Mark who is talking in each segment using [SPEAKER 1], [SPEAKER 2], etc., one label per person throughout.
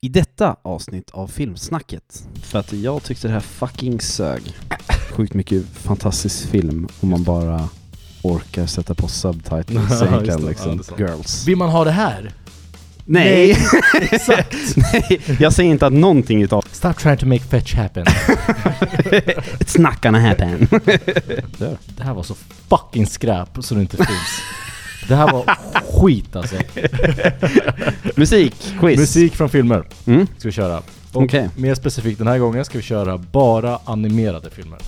[SPEAKER 1] I detta avsnitt av Filmsnacket, för att jag tyckte det här fucking sög. Sjukt mycket fantastisk film om man bara orkar sätta på subtitles så
[SPEAKER 2] Ja,
[SPEAKER 1] enkelt
[SPEAKER 2] just det. Ja,
[SPEAKER 1] liksom.
[SPEAKER 2] det är sant.
[SPEAKER 1] Girls.
[SPEAKER 3] Vill man ha det här?
[SPEAKER 1] Nej!
[SPEAKER 3] Exakt!
[SPEAKER 1] Nej! Jag säger inte att någonting utav
[SPEAKER 3] Stop trying to make fetch happen.
[SPEAKER 1] It's not gonna happen.
[SPEAKER 3] Det här var så fucking skräp så det inte finns. Det här var skit alltså.
[SPEAKER 1] Musik, quiz.
[SPEAKER 3] Musik från filmer
[SPEAKER 1] Mm.
[SPEAKER 3] ska vi köra. Och
[SPEAKER 1] Okej.
[SPEAKER 3] mer specifikt den här gången ska vi köra bara animerade filmer.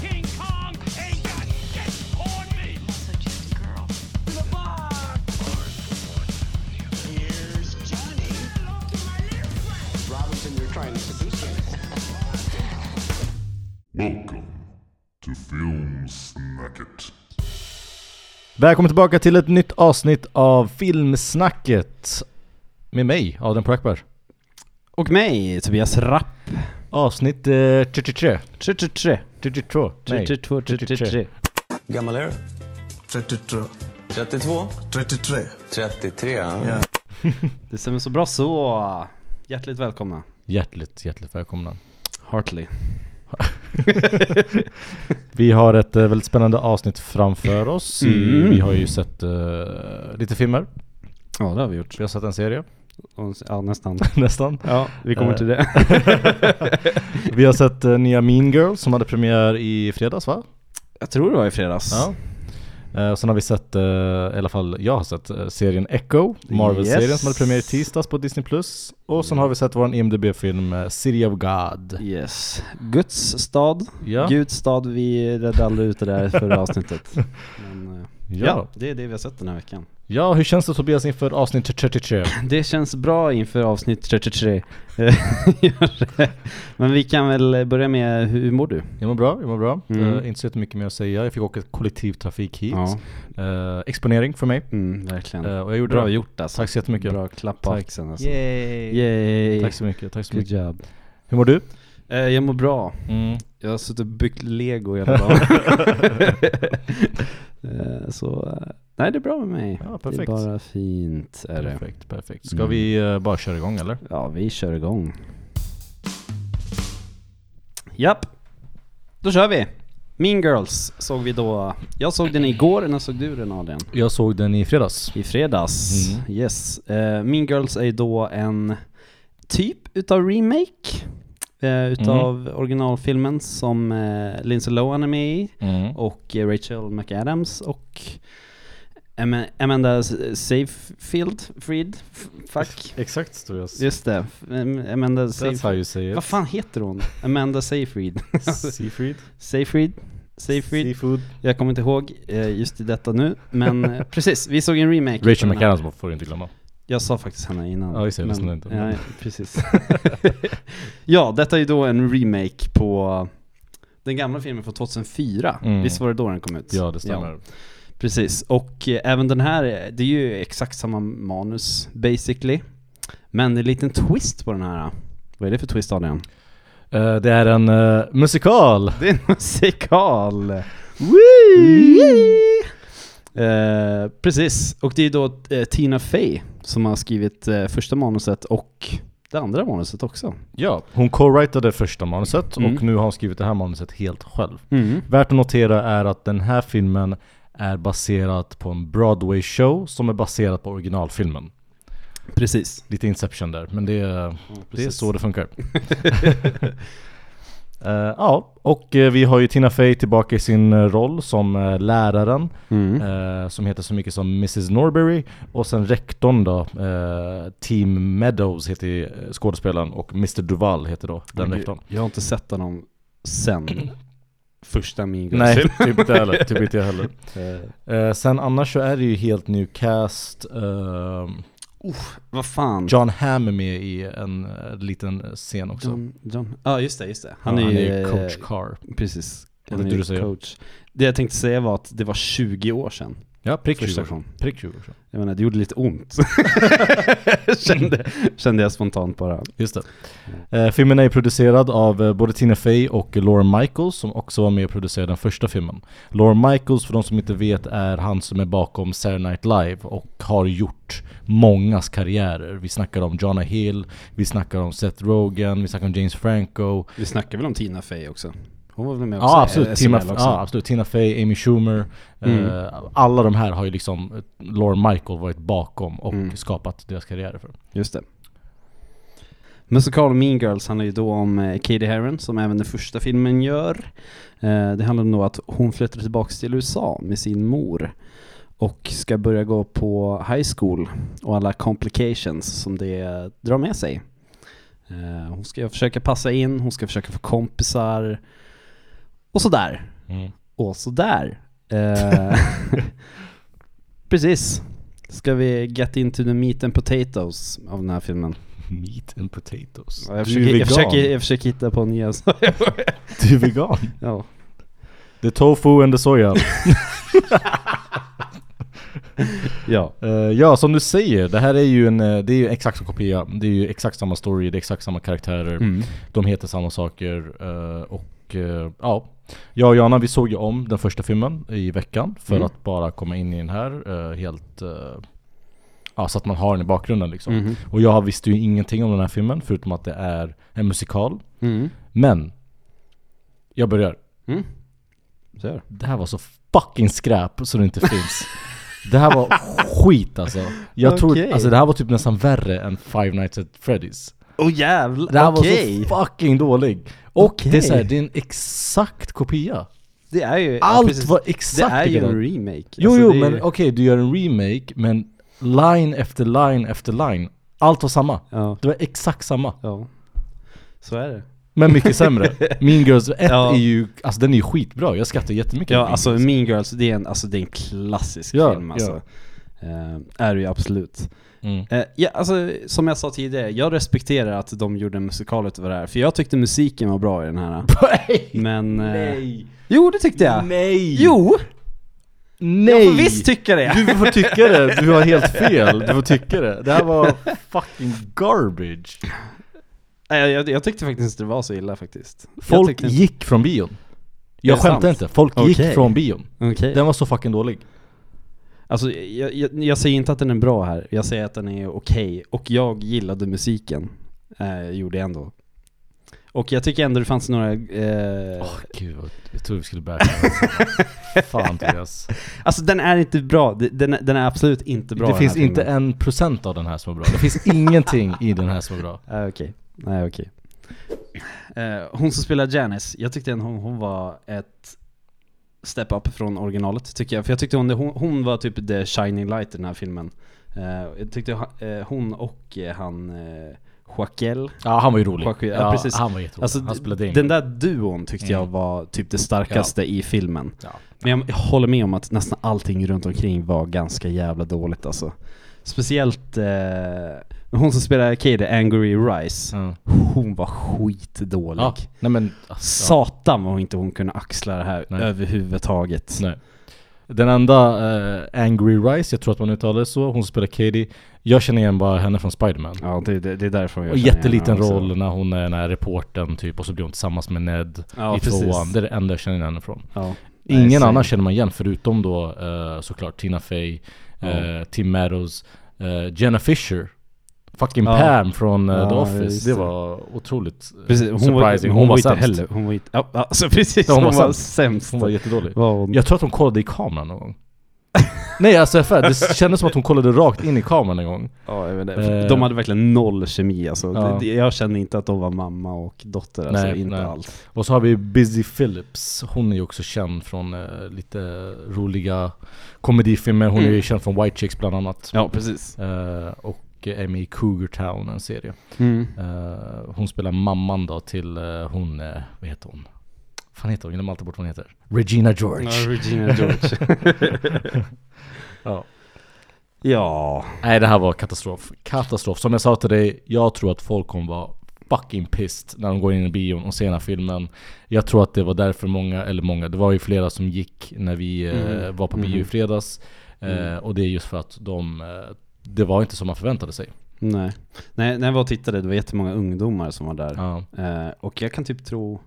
[SPEAKER 4] King Kong ain't got shit on me.
[SPEAKER 5] also just a girl.
[SPEAKER 4] To the bar. Here's Johnny. Hello to my little friend.
[SPEAKER 6] Robinson, you're trying to seduce me.
[SPEAKER 7] Welcome to Film Snacket.
[SPEAKER 3] Välkommen tillbaka till ett nytt avsnitt av Filmsnacket. Med mig, Adrian Prakbar.
[SPEAKER 1] Och mig, Tobias Rapp.
[SPEAKER 3] Avsnitt eh, 33.
[SPEAKER 1] 33.
[SPEAKER 3] 32. Nej.
[SPEAKER 1] 32, 33.
[SPEAKER 8] gammal är du?
[SPEAKER 9] 32,
[SPEAKER 8] 32?
[SPEAKER 9] 33.
[SPEAKER 8] 33, ja.
[SPEAKER 1] Det stämmer så bra så. Hjärtligt välkomna.
[SPEAKER 3] Hjärtligt, hjärtligt välkomna.
[SPEAKER 1] Hartley.
[SPEAKER 3] Vi har ett eh, väldigt spännande avsnitt framför oss.
[SPEAKER 1] Mm.
[SPEAKER 3] Vi har ju sett eh, lite filmer.
[SPEAKER 1] Ja, det har vi gjort.
[SPEAKER 3] Vi har sett en serie,
[SPEAKER 1] Och- Ja, nästan.
[SPEAKER 3] nästan.
[SPEAKER 1] Ja, vi kommer till det.
[SPEAKER 3] Vi har sett eh, nya Mean Girls som hade premiär i fredags va?
[SPEAKER 1] Jag tror det var i fredags.
[SPEAKER 3] Ja. Eh, och sen har vi sett, eh, i alla fall jag har sett, eh, serien Echo, Marvel-serien
[SPEAKER 1] Yes.
[SPEAKER 3] som hade premiär i tisdags på Disney+. Plus. Och sen har vi sett vår IMDB-film eh, City of God.
[SPEAKER 1] Yes. Guds stad.
[SPEAKER 3] Ja.
[SPEAKER 1] Guds stad, vi räddade aldrig ut det där förra avsnittet. Men, eh, ja.
[SPEAKER 3] Ja.
[SPEAKER 1] det är det vi har sett den här veckan.
[SPEAKER 3] ja, hur känns det Tobias inför avsnitt 33?
[SPEAKER 1] Det känns bra inför avsnitt 33. Men vi kan väl börja med, hur mår du?
[SPEAKER 3] Jag mår bra, jag mår bra.
[SPEAKER 1] Mm.
[SPEAKER 3] Eh, inte så mycket mer att säga. Jag fick åka kollektivtrafik hit. Eh, exponering för mig.
[SPEAKER 1] mm, verkligen.
[SPEAKER 3] Eh, och jag gjorde
[SPEAKER 1] Bra
[SPEAKER 3] det.
[SPEAKER 1] gjort alltså.
[SPEAKER 3] Tack så jättemycket.
[SPEAKER 1] Bra klapp på
[SPEAKER 3] Tack.
[SPEAKER 1] axeln alltså.
[SPEAKER 3] Yay.
[SPEAKER 1] Yay.
[SPEAKER 3] Tack så mycket, tack så
[SPEAKER 1] Good
[SPEAKER 3] mycket.
[SPEAKER 1] job.
[SPEAKER 3] Hur mår du?
[SPEAKER 1] Eh, jag mår bra.
[SPEAKER 3] Mm.
[SPEAKER 1] Jag har suttit och byggt lego hela dagen. Eh, så, eh, nej det är bra med mig.
[SPEAKER 3] Ja,
[SPEAKER 1] det är
[SPEAKER 3] perfekt.
[SPEAKER 1] bara fint är det.
[SPEAKER 3] Perfekt, perfekt. Ska
[SPEAKER 1] Mm.
[SPEAKER 3] vi eh, bara köra igång eller?
[SPEAKER 1] Ja, vi kör igång. Japp. Då kör vi. Mean Girls såg vi då. Jag såg den igår, när såg du den Adrian?
[SPEAKER 3] Jag såg den i fredags.
[SPEAKER 1] I fredags.
[SPEAKER 3] Mm.
[SPEAKER 1] Yes. Eh, mean Girls är ju då en typ utav remake eh, utav originalfilmen som eh, Lindsay Lohan är med i
[SPEAKER 3] Mm.
[SPEAKER 1] och eh, Rachel McAdams och Am- Amanda Seyfield, Fried, F- fuck.
[SPEAKER 3] Exakt Tobias.
[SPEAKER 1] Just det, Am- Amanda
[SPEAKER 3] That's how
[SPEAKER 1] Seyfried.
[SPEAKER 3] you say it.
[SPEAKER 1] Vad fan heter hon? Amanda Seyfried.
[SPEAKER 3] Seafood.
[SPEAKER 1] Seyfried? Seyfried?
[SPEAKER 3] Seafood.
[SPEAKER 1] Jag kommer inte ihåg eh, just i detta nu, men eh, precis, vi såg en remake.
[SPEAKER 3] Rachel
[SPEAKER 1] av den här.
[SPEAKER 3] McAdams får du inte glömma.
[SPEAKER 1] Jag sa faktiskt henne innan.
[SPEAKER 3] Ja, just det, jag lyssnade inte.
[SPEAKER 1] Ja, precis. ja, detta är ju då en remake på den gamla filmen från 2004.
[SPEAKER 3] Mm.
[SPEAKER 1] Visst var det då den kom ut?
[SPEAKER 3] Ja, det stämmer.
[SPEAKER 1] Precis, och eh, även den här, eh, det är ju exakt samma manus basically. Men det är en liten twist på den här. Vad är det för twist Adrian?
[SPEAKER 3] Eh, det är en eh, musikal!
[SPEAKER 1] Det är en musikal! Wee! Eh, precis, och det är då eh, Tina Fey som har skrivit eh, första manuset och det andra manuset också.
[SPEAKER 3] Ja, hon co-writade första manuset
[SPEAKER 1] Mm.
[SPEAKER 3] och nu har hon skrivit det här manuset helt själv. Värt att notera är att den här filmen är baserad på en Broadway-show som är baserad på originalfilmen.
[SPEAKER 1] Precis.
[SPEAKER 3] Lite Inception där, men det, det är
[SPEAKER 1] precis.
[SPEAKER 3] så det funkar. Eh, ja, och eh, vi har ju Tina Fey tillbaka i sin eh, roll som eh, läraren eh, som heter så mycket som Mrs Norbury och sen rektorn då, eh, Team Meadows heter ju, eh, skådespelaren och Mr Duval heter då den rektorn.
[SPEAKER 1] Jag har inte sett honom sen första min
[SPEAKER 3] Nej, typ inte heller. Typ inte jag heller. Eh, sen annars så är det ju helt new cast. Eh,
[SPEAKER 1] Vad fan?
[SPEAKER 3] John Hamm är med i en eh, liten scen också.
[SPEAKER 1] John, John. Ja just det, just det. Han,
[SPEAKER 3] Ja,
[SPEAKER 1] är,
[SPEAKER 3] han
[SPEAKER 1] ju,
[SPEAKER 3] är coach
[SPEAKER 1] eh,
[SPEAKER 3] Carr.
[SPEAKER 1] Precis.
[SPEAKER 3] Vad
[SPEAKER 1] Han är
[SPEAKER 3] tänkte
[SPEAKER 1] ju
[SPEAKER 3] du säga?
[SPEAKER 1] coach. Det jag tänkte säga var att det var 20 år sedan
[SPEAKER 3] Ja, prick
[SPEAKER 1] Första
[SPEAKER 3] 20 år sedan.
[SPEAKER 1] gången.
[SPEAKER 3] Prick 20 år sedan.
[SPEAKER 1] Jag menar, det gjorde lite ont. kände, kände jag spontant bara.
[SPEAKER 3] Just det.
[SPEAKER 1] Mm.
[SPEAKER 3] Eh, filmen är producerad av eh, både Tina Fey och Lauren Michaels som också var med och producerade den första filmen. Lauren Michaels, för de som inte vet, är han som är bakom Saturday Night Live och har gjort mångas karriärer. Vi snackar om Jonah Hill, vi snackar om Seth Rogen, vi snackar om James Franco.
[SPEAKER 1] Vi snackar väl om Tina Fey också? Hon var väl med också?
[SPEAKER 3] Ja absolut,
[SPEAKER 1] Eh,
[SPEAKER 3] Tina,
[SPEAKER 1] SNL också.
[SPEAKER 3] ja absolut, Tina Fey, Amy Schumer.
[SPEAKER 1] Mm.
[SPEAKER 3] Eh, alla de här har ju liksom eh, Lauren Michael varit bakom och
[SPEAKER 1] Mm.
[SPEAKER 3] skapat deras karriärer för.
[SPEAKER 1] Just det. Musikalen Mean Girls handlar ju då om eh, Katie Heron som även den första filmen gör. Eh, Det handlar om då att hon flyttar tillbaka till USA med sin mor och ska börja gå på high school och alla complications som det drar med sig. Eh, Hon ska försöka passa in, hon ska försöka få kompisar och sådär.
[SPEAKER 3] Mm.
[SPEAKER 1] Och sådär. Eh, Precis. Ska vi get into the meat and potatoes av den här filmen?
[SPEAKER 3] Meat and potatoes.
[SPEAKER 1] Ja, Jag
[SPEAKER 3] Du
[SPEAKER 1] försöker, jag,
[SPEAKER 3] är vegan.
[SPEAKER 1] försöker, jag försöker hitta på nya saker.
[SPEAKER 3] Du är vegan.
[SPEAKER 1] ja.
[SPEAKER 3] The tofu and the soja.
[SPEAKER 1] ja.
[SPEAKER 3] Eh, ja, som du säger, det här är ju en, eh, det är ju exakt som kopia. Det är ju exakt samma story, det är exakt samma karaktärer. De heter samma saker eh, och eh, ja. Jag och Jana vi såg ju om den första filmen i veckan för
[SPEAKER 1] Mm.
[SPEAKER 3] att bara komma in i den här eh, helt... eh, ja, så att man har den i bakgrunden liksom.
[SPEAKER 1] Mhm.
[SPEAKER 3] Och jag visste ju ingenting om den här filmen förutom att det är en musikal.
[SPEAKER 1] Mm.
[SPEAKER 3] Men! Jag börjar.
[SPEAKER 1] Mm. Så gör.
[SPEAKER 3] Det här var så fucking skräp så det inte finns. Det här var skit alltså. Jag
[SPEAKER 1] Okej.
[SPEAKER 3] tror, alltså det här var typ nästan värre än Five Nights at Freddy's.
[SPEAKER 1] Åh oh, jävlar,
[SPEAKER 3] Det här
[SPEAKER 1] okej!
[SPEAKER 3] var så fucking dålig. Och det är
[SPEAKER 1] Okej.
[SPEAKER 3] så här, det är en exakt kopia.
[SPEAKER 1] Det är ju... ja,
[SPEAKER 3] Allt
[SPEAKER 1] precis.
[SPEAKER 3] var exakt
[SPEAKER 1] Det är ju
[SPEAKER 3] likadant.
[SPEAKER 1] en remake.
[SPEAKER 3] Jo
[SPEAKER 1] Alltså,
[SPEAKER 3] jo
[SPEAKER 1] det är
[SPEAKER 3] men
[SPEAKER 1] ju-
[SPEAKER 3] okej du gör en remake men line efter line efter line. Allt var samma.
[SPEAKER 1] Ja.
[SPEAKER 3] Det var exakt samma.
[SPEAKER 1] ja. Så är det.
[SPEAKER 3] Men mycket sämre. Mean Girls 1
[SPEAKER 1] Ja.
[SPEAKER 3] är ju, alltså den är ju skitbra. Jag skrattar jättemycket. åt
[SPEAKER 1] Ja,
[SPEAKER 3] Mean
[SPEAKER 1] alltså
[SPEAKER 3] Girls.
[SPEAKER 1] Mean Girls, det är en, alltså, det är en klassisk
[SPEAKER 3] Ja,
[SPEAKER 1] film
[SPEAKER 3] ja.
[SPEAKER 1] alltså. Eh, är det ju absolut.
[SPEAKER 3] Mm.
[SPEAKER 1] Eh, ja, alltså, som jag sa tidigare, jag respekterar att de gjorde en musikal utav det här, för jag tyckte musiken var bra i den här. Men... eh,
[SPEAKER 3] Nej!
[SPEAKER 1] Jo, det tyckte jag!
[SPEAKER 3] Nej!
[SPEAKER 1] Jo! Jag
[SPEAKER 3] Nej!
[SPEAKER 1] får visst tycka det!
[SPEAKER 3] Du får tycka det, du har helt fel. Du får tycka det. Det här var fucking garbage.
[SPEAKER 1] Nej, Jag, jag, jag tyckte faktiskt inte det var så illa faktiskt. Jag
[SPEAKER 3] Folk
[SPEAKER 1] tyckte-
[SPEAKER 3] gick från bion. Jag
[SPEAKER 1] det
[SPEAKER 3] skämtar
[SPEAKER 1] sant?
[SPEAKER 3] inte, folk
[SPEAKER 1] Okej.
[SPEAKER 3] gick från bion.
[SPEAKER 1] Okej.
[SPEAKER 3] Den var så fucking dålig.
[SPEAKER 1] Alltså, jag, jag, jag säger inte att den är bra här, jag säger att den är okej. Och jag gillade musiken. Eh, gjorde jag ändå. Och jag tycker ändå det fanns några... Eh,
[SPEAKER 3] Åh gud, vad- jag trodde vi skulle börja med- Fan Tobias.
[SPEAKER 1] Alltså den är inte bra, Det- den, den är absolut inte bra
[SPEAKER 3] det
[SPEAKER 1] den
[SPEAKER 3] finns
[SPEAKER 1] här
[SPEAKER 3] inte
[SPEAKER 1] filmen.
[SPEAKER 3] en procent av den här som är bra. Det finns ingenting i den här som är bra.
[SPEAKER 1] Ah, okej. Nej, okej. Eh, hon som spelar Janice, jag tyckte hon, hon var ett step up från originalet tycker jag. För jag tyckte hon, hon, hon var typ the shining light i den här filmen. Eh, jag tyckte ha- eh, hon och eh, han eh, Joaquel,
[SPEAKER 3] Ja han var ju rolig.
[SPEAKER 1] Joaquin, ja, precis.
[SPEAKER 3] Han var jätterolig.
[SPEAKER 1] alltså,
[SPEAKER 3] han spelade in.
[SPEAKER 1] den där duon tyckte jag
[SPEAKER 3] Mm.
[SPEAKER 1] var typ det starkaste i filmen.
[SPEAKER 3] Ja.
[SPEAKER 1] Men jag, jag håller med om att nästan allting runt omkring var ganska jävla dåligt alltså. Speciellt eh, hon som spelar Katie, Angry Rice,
[SPEAKER 3] Mm.
[SPEAKER 1] hon var skitdålig.
[SPEAKER 3] Ja, nej men alltså,
[SPEAKER 1] Satan vad inte hon kunde axla det här
[SPEAKER 3] Nej.
[SPEAKER 1] överhuvudtaget.
[SPEAKER 3] Nej. Den enda eh, Angry Rice, jag tror att man uttalar det så, hon spelar Katie. Jag känner igen bara henne från Spiderman.
[SPEAKER 1] Ja, det, det, det är därför jag
[SPEAKER 3] Och
[SPEAKER 1] känner igen
[SPEAKER 3] jätteliten
[SPEAKER 1] henne också.
[SPEAKER 3] roll när hon är den här reportern typ och så blir hon tillsammans med Ned
[SPEAKER 1] Ja,
[SPEAKER 3] i
[SPEAKER 1] precis.
[SPEAKER 3] tvåan. Det är det enda jag känner igen henne från.
[SPEAKER 1] Ja.
[SPEAKER 3] Ingen
[SPEAKER 1] Nej, så-
[SPEAKER 3] annan känner man igen förutom då eh, såklart Tina Fey, eh, Tim Meadows, eh, Jenna Fisher. Fucking
[SPEAKER 1] Ja.
[SPEAKER 3] Pam från eh,
[SPEAKER 1] Ja,
[SPEAKER 3] The
[SPEAKER 1] just
[SPEAKER 3] Office. Det
[SPEAKER 1] det.
[SPEAKER 3] var otroligt eh,
[SPEAKER 1] Precis, hon var, hon,
[SPEAKER 3] surprising.
[SPEAKER 1] var, inte
[SPEAKER 3] sämst.
[SPEAKER 1] heller, hon var inte, ja, alltså precis,
[SPEAKER 3] Ja,
[SPEAKER 1] hon,
[SPEAKER 3] hon
[SPEAKER 1] var
[SPEAKER 3] var
[SPEAKER 1] sämst.
[SPEAKER 3] Hon var jättedålig.
[SPEAKER 1] Var hon-
[SPEAKER 3] Jag tror att hon kollade i kameran någon gång. Nej alltså jag är färdig. det kändes som att hon kollade rakt in i kameran en gång.
[SPEAKER 1] Ja, jag vet inte.
[SPEAKER 3] Eh.
[SPEAKER 1] De hade verkligen noll kemi alltså.
[SPEAKER 3] Ja.
[SPEAKER 1] Det- det- Jag kände inte att de var mamma och dotter alltså,
[SPEAKER 3] Nej,
[SPEAKER 1] inte
[SPEAKER 3] nej.
[SPEAKER 1] alls.
[SPEAKER 3] Och så har vi Busy Phillips, hon är ju också känd från eh, lite roliga komedifilmer, hon är
[SPEAKER 1] Mm.
[SPEAKER 3] ju känd från White Chicks bland annat.
[SPEAKER 1] Ja, precis.
[SPEAKER 3] Eh, och är med i Cougar Town, en serie.
[SPEAKER 1] Mm.
[SPEAKER 3] Eh, hon spelar mamman då till eh, hon, eh, vad heter hon? fan heter hon? Jag glömmer alltid bort vad hon heter. Regina George.
[SPEAKER 1] Ja, Regina George.
[SPEAKER 3] Ja.
[SPEAKER 1] ja.
[SPEAKER 3] Nej det här var katastrof. Katastrof. Som jag sa till dig, jag tror att folk kommer vara fucking pissed när de går in i bion och ser den här filmen. Jag tror
[SPEAKER 1] Mm.
[SPEAKER 3] att det var därför många, eller många, det var ju flera som gick när vi eh, var på bio i fredags. Eh, och det är just för att de, eh, det var inte som man förväntade sig.
[SPEAKER 1] Nej. Nej, när jag var och tittade, det var jättemånga ungdomar som var där.
[SPEAKER 3] Ja.
[SPEAKER 1] Eh, och jag kan typ tro,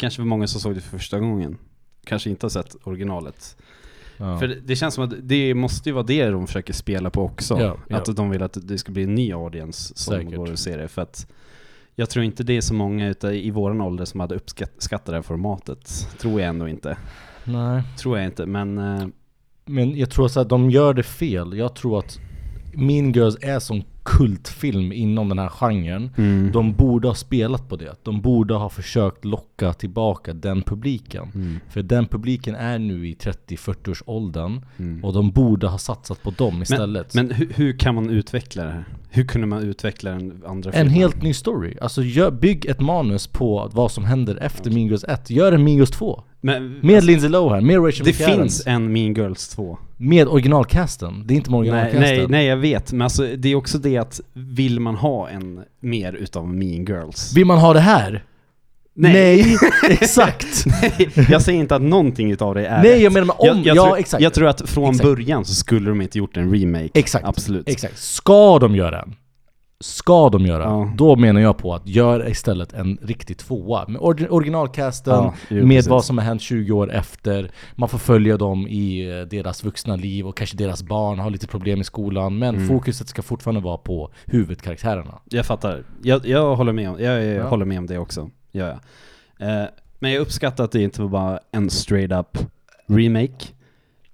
[SPEAKER 1] kanske var många som såg det för första gången. Kanske inte har sett originalet.
[SPEAKER 3] Ja.
[SPEAKER 1] För det, det känns som att det måste ju vara det de försöker spela på också.
[SPEAKER 3] Ja, ja.
[SPEAKER 1] Att de vill att det ska bli en ny audience som
[SPEAKER 3] Säkert.
[SPEAKER 1] går och ser det. För att jag tror inte det är så många ute i våran ålder som hade uppskattat det här formatet. Tror jag ändå inte.
[SPEAKER 3] Nej.
[SPEAKER 1] Tror jag inte, men eh,
[SPEAKER 3] Men jag tror så att de gör det fel. Jag tror att Mean Girls är som kultfilm inom den här genren. De borde ha spelat på det. De borde ha försökt locka tillbaka den publiken.
[SPEAKER 1] Mm.
[SPEAKER 3] För den publiken är nu i 30-40 års åldern och de borde ha satsat på dem istället.
[SPEAKER 1] Mm. Men, men hur, hur kan man utveckla det här? Hur kunde man utveckla den andra
[SPEAKER 3] en
[SPEAKER 1] filmen?
[SPEAKER 3] helt ny story. Alltså gör, bygg ett manus på vad som händer efter Mean Girls 1. Gör en Mean Girls 2.
[SPEAKER 1] Men,
[SPEAKER 3] Med Lindsay Lohan, med Rachel
[SPEAKER 1] Alltså, det
[SPEAKER 3] McAdams,
[SPEAKER 1] finns en Mean Girls 2.
[SPEAKER 3] Med originalcasten. Det är inte med
[SPEAKER 1] Nej,
[SPEAKER 3] originalcasten.
[SPEAKER 1] nej, nej jag vet, men alltså, det är också det att vill man ha en mer utav Mean Girls?
[SPEAKER 3] Vill man ha det här? Nej, exakt!
[SPEAKER 1] jag säger inte att någonting utav det är
[SPEAKER 3] Nej,
[SPEAKER 1] rätt.
[SPEAKER 3] jag menar, men om- ja,
[SPEAKER 1] tror,
[SPEAKER 3] exakt.
[SPEAKER 1] Jag tror att från
[SPEAKER 3] Exakt.
[SPEAKER 1] början så skulle de inte gjort en remake.
[SPEAKER 3] Exakt.
[SPEAKER 1] Absolut.
[SPEAKER 3] Exakt. Ska de göra en? Ska de göra?
[SPEAKER 1] Ja.
[SPEAKER 3] Då menar jag på att gör istället en riktig tvåa. Med orgi- originalcasten,
[SPEAKER 1] Ja, jo,
[SPEAKER 3] med
[SPEAKER 1] precis.
[SPEAKER 3] vad som har hänt 20 år efter. Man får följa dem i eh, deras vuxna liv och kanske deras barn har lite problem i skolan. Men
[SPEAKER 1] Mm.
[SPEAKER 3] fokuset ska fortfarande vara på huvudkaraktärerna.
[SPEAKER 1] Jag fattar. Jag, jag, håller, med om, jag, jag håller med om det också. Ja, ja. Eh, men jag uppskattar att det inte var bara en straight up remake.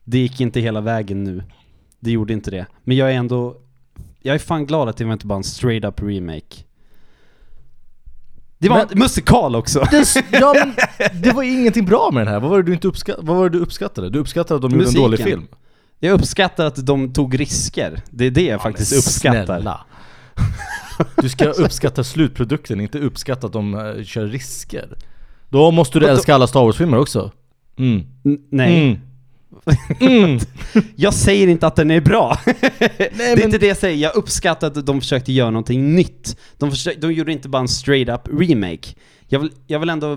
[SPEAKER 1] Det gick inte hela vägen nu. Det gjorde inte det. Men jag är ändå... Jag är fan glad att det var inte bara en straight up remake. Det var
[SPEAKER 3] Men-
[SPEAKER 1] en musikal också!
[SPEAKER 3] Det, s- ja, men, det var ju ingenting bra med den här. Vad var det du, inte uppska- vad var det du uppskattade? Du uppskattade att de
[SPEAKER 1] Musiken.
[SPEAKER 3] gjorde en dålig film.
[SPEAKER 1] Jag uppskattar att de tog risker. Det är det jag faktiskt uppskattar.
[SPEAKER 3] Snälla. Du ska uppskatta slutprodukten, inte uppskatta att de eh, kör risker. Då måste du
[SPEAKER 1] Vadå?
[SPEAKER 3] älska alla Star Wars-filmer också. Mm.
[SPEAKER 1] N- nej.
[SPEAKER 3] Mm.
[SPEAKER 1] Jag säger inte att den är bra. det är
[SPEAKER 3] men-
[SPEAKER 1] inte det jag säger. Jag uppskattar att de försökte göra någonting nytt. De, försökte, de gjorde inte bara en straight up remake. Jag vill, jag vill ändå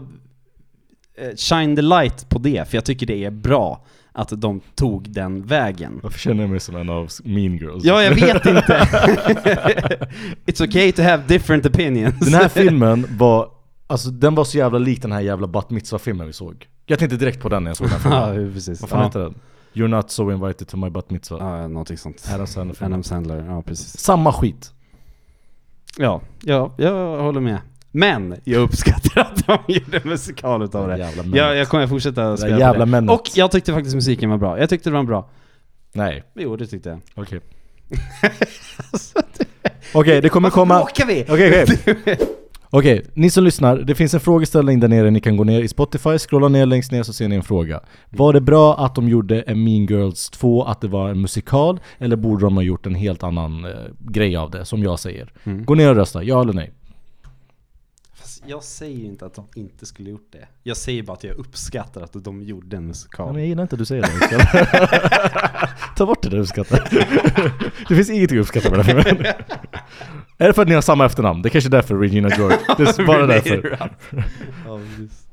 [SPEAKER 1] eh, shine the light på det, för jag tycker det är bra att de tog den vägen.
[SPEAKER 3] Varför känner jag mig som en av Mean Girls?
[SPEAKER 1] Ja, jag vet inte. It's okay to have different opinions.
[SPEAKER 3] Den här filmen var, alltså den var så jävla lik den här jävla Bat Mitzvah-filmen vi såg. Jag tänkte direkt på den när jag såg den här
[SPEAKER 1] ja,
[SPEAKER 3] filmen.
[SPEAKER 1] precis.
[SPEAKER 3] Vad fan heter den? You're not so invited to my Bat Mitzvah.
[SPEAKER 1] Ja, ja, någonting sånt.
[SPEAKER 3] Adam Sandler-filmen.
[SPEAKER 1] Adam Sandler, ja precis.
[SPEAKER 3] Samma skit.
[SPEAKER 1] Ja, ja, jag håller med. Men jag uppskattar att de gjorde en musikal utav det.
[SPEAKER 3] Jävla
[SPEAKER 1] Jag, jag kommer fortsätta spela på
[SPEAKER 3] jävla
[SPEAKER 1] det.
[SPEAKER 3] männet.
[SPEAKER 1] Och jag tyckte faktiskt musiken var bra. Jag tyckte det var bra.
[SPEAKER 3] Nej,
[SPEAKER 1] Jo, det tyckte jag.
[SPEAKER 3] okej. Alltså, Okej, det kommer komma...
[SPEAKER 1] Åker vi!
[SPEAKER 3] Okej, okej. Okej, ni som lyssnar, det finns en frågeställning där nere ni kan gå ner i Spotify, scrolla ner längst ner så ser ni en fråga. Var det bra att de gjorde en Mean Girls 2, att det var en musikal? Eller borde de ha gjort en helt annan eh, grej av det, som jag säger? Gå ner och rösta, Mm. ja eller nej.
[SPEAKER 1] Fast Jag säger ju inte att de inte skulle gjort det. Jag säger bara att jag uppskattar att de gjorde en musikal.
[SPEAKER 3] Ja, men jag gillar inte att du säger det. Ta bort det där uppskattar. det finns ingenting att uppskatta med den här filmen. Är det för att ni har samma efternamn? Det är kanske är därför Regina George. Det är bara därför.
[SPEAKER 1] Ja, precis.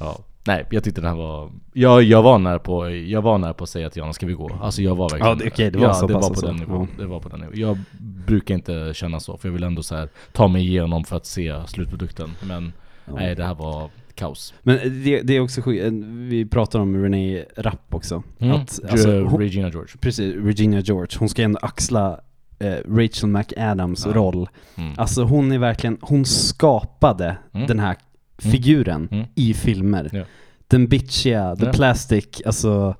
[SPEAKER 3] Ja. Nej, jag tyckte den här var... Jag, jag, var nära på, jag var nära på att säga att Jana ska vi gå. Alltså jag var verkligen...
[SPEAKER 1] Ja, det- okej, det var
[SPEAKER 3] ja,
[SPEAKER 1] så
[SPEAKER 3] det
[SPEAKER 1] pass
[SPEAKER 3] var på
[SPEAKER 1] alltså.
[SPEAKER 3] den nivån.
[SPEAKER 1] Ja.
[SPEAKER 3] Det var på den nivån. Jag brukar inte känna så, för jag vill ändå så här, ta mig igenom för att se slutprodukten. Men nej, det här var kaos.
[SPEAKER 1] Men det, det är också sjukt, vi pratar om Renee Rapp också.
[SPEAKER 3] Mm.
[SPEAKER 1] Att,
[SPEAKER 3] Ju-
[SPEAKER 1] alltså, hon,
[SPEAKER 3] Regina George.
[SPEAKER 1] precis, Regina George, hon ska ändå axla eh, Rachel McAdams roll.
[SPEAKER 3] Mm.
[SPEAKER 1] Alltså hon är verkligen, hon skapade den här figuren i filmer.
[SPEAKER 3] Mm. Ja.
[SPEAKER 1] Den bitchiga, the
[SPEAKER 3] Ja.
[SPEAKER 1] plastic, alltså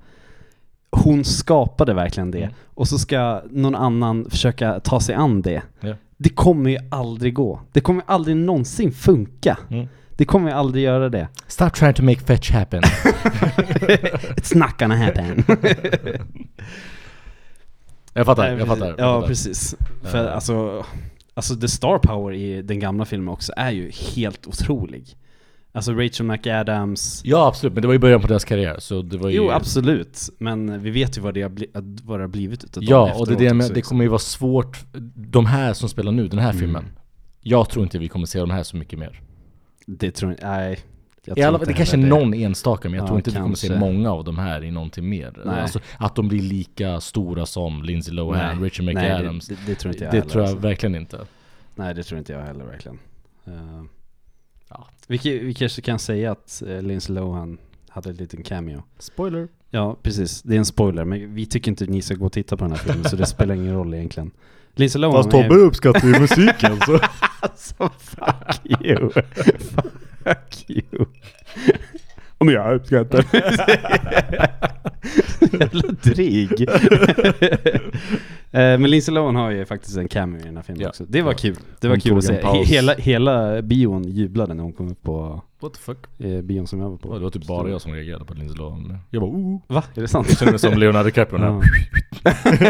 [SPEAKER 1] hon skapade verkligen
[SPEAKER 3] Mm.
[SPEAKER 1] det. Och så ska någon annan försöka ta sig an det.
[SPEAKER 3] Ja.
[SPEAKER 1] Det kommer ju aldrig gå. Det kommer aldrig någonsin funka.
[SPEAKER 3] Mm.
[SPEAKER 1] Det kommer ju aldrig göra det.
[SPEAKER 3] Stop trying to make fetch happen.
[SPEAKER 1] It's not gonna happen.
[SPEAKER 3] jag fattar,
[SPEAKER 1] Nej, precis.
[SPEAKER 3] jag fattar. jag
[SPEAKER 1] Ja,
[SPEAKER 3] fattar.
[SPEAKER 1] precis. För alltså, alltså the star power i den gamla filmen också är ju helt otrolig. Alltså Rachel McAdams,
[SPEAKER 3] Ja absolut, men det var ju början på deras karriär så det var ju...
[SPEAKER 1] jo absolut, men vi vet ju vad det har, bli, att- vad det har blivit utav dem
[SPEAKER 3] Ja, och det, är
[SPEAKER 1] efteråt
[SPEAKER 3] det, jag menar,
[SPEAKER 1] också,
[SPEAKER 3] det
[SPEAKER 1] liksom. Mm.
[SPEAKER 3] kommer ju vara svårt. De här som spelar nu, den här filmen. Jag tror inte vi kommer se de här så mycket mer.
[SPEAKER 1] Det tror jag, nej. Jag
[SPEAKER 3] I
[SPEAKER 1] tror
[SPEAKER 3] alla,
[SPEAKER 1] inte
[SPEAKER 3] det
[SPEAKER 1] heller
[SPEAKER 3] kanske är någon enstaka men jag
[SPEAKER 1] Ja,
[SPEAKER 3] tror inte vi kommer se
[SPEAKER 1] kanske.
[SPEAKER 3] många av de här i någonting mer.
[SPEAKER 1] Nej.
[SPEAKER 3] Alltså, att de blir lika stora som Lindsay Lohan,
[SPEAKER 1] Nej.
[SPEAKER 3] Richard
[SPEAKER 1] Nej, det,
[SPEAKER 3] McAdams.
[SPEAKER 1] det, det tror inte jag
[SPEAKER 3] det
[SPEAKER 1] heller,
[SPEAKER 3] tror jag
[SPEAKER 1] alltså.
[SPEAKER 3] verkligen inte.
[SPEAKER 1] Nej det tror inte jag heller verkligen. Eh,
[SPEAKER 3] Ja.
[SPEAKER 1] vi, ki- vi kanske kan säga att eh, Lindsay Lohan hade en liten cameo.
[SPEAKER 3] Spoiler.
[SPEAKER 1] Ja precis, det är en spoiler men vi tycker inte ni ska gå och titta på den här filmen så det spelar ingen roll egentligen. Lindsay Lohan är-
[SPEAKER 3] uppskattar ju musiken så.
[SPEAKER 1] Alltså fuck you. fuck you. Om jag uppskattar Jävla dryg. Eh, Men Lindsay Lohan har ju faktiskt en cameo i den här filmen
[SPEAKER 3] Ja.
[SPEAKER 1] också. Det var
[SPEAKER 3] Ja.
[SPEAKER 1] kul. Det var
[SPEAKER 3] Hon
[SPEAKER 1] kul
[SPEAKER 3] tog
[SPEAKER 1] att
[SPEAKER 3] en
[SPEAKER 1] se.
[SPEAKER 3] paus.
[SPEAKER 1] Hela, hela bion jublade när hon kom upp på
[SPEAKER 3] What the fuck?
[SPEAKER 1] eh, bion som jag var
[SPEAKER 3] Ja,
[SPEAKER 1] på.
[SPEAKER 3] Det var typ bara jag som reagerade på Lindsay Lohan. Jag bara oh.
[SPEAKER 1] Va? Är det sant?
[SPEAKER 3] Jag kände mig som Leonardo DiCaprio
[SPEAKER 1] Ja.
[SPEAKER 3] här.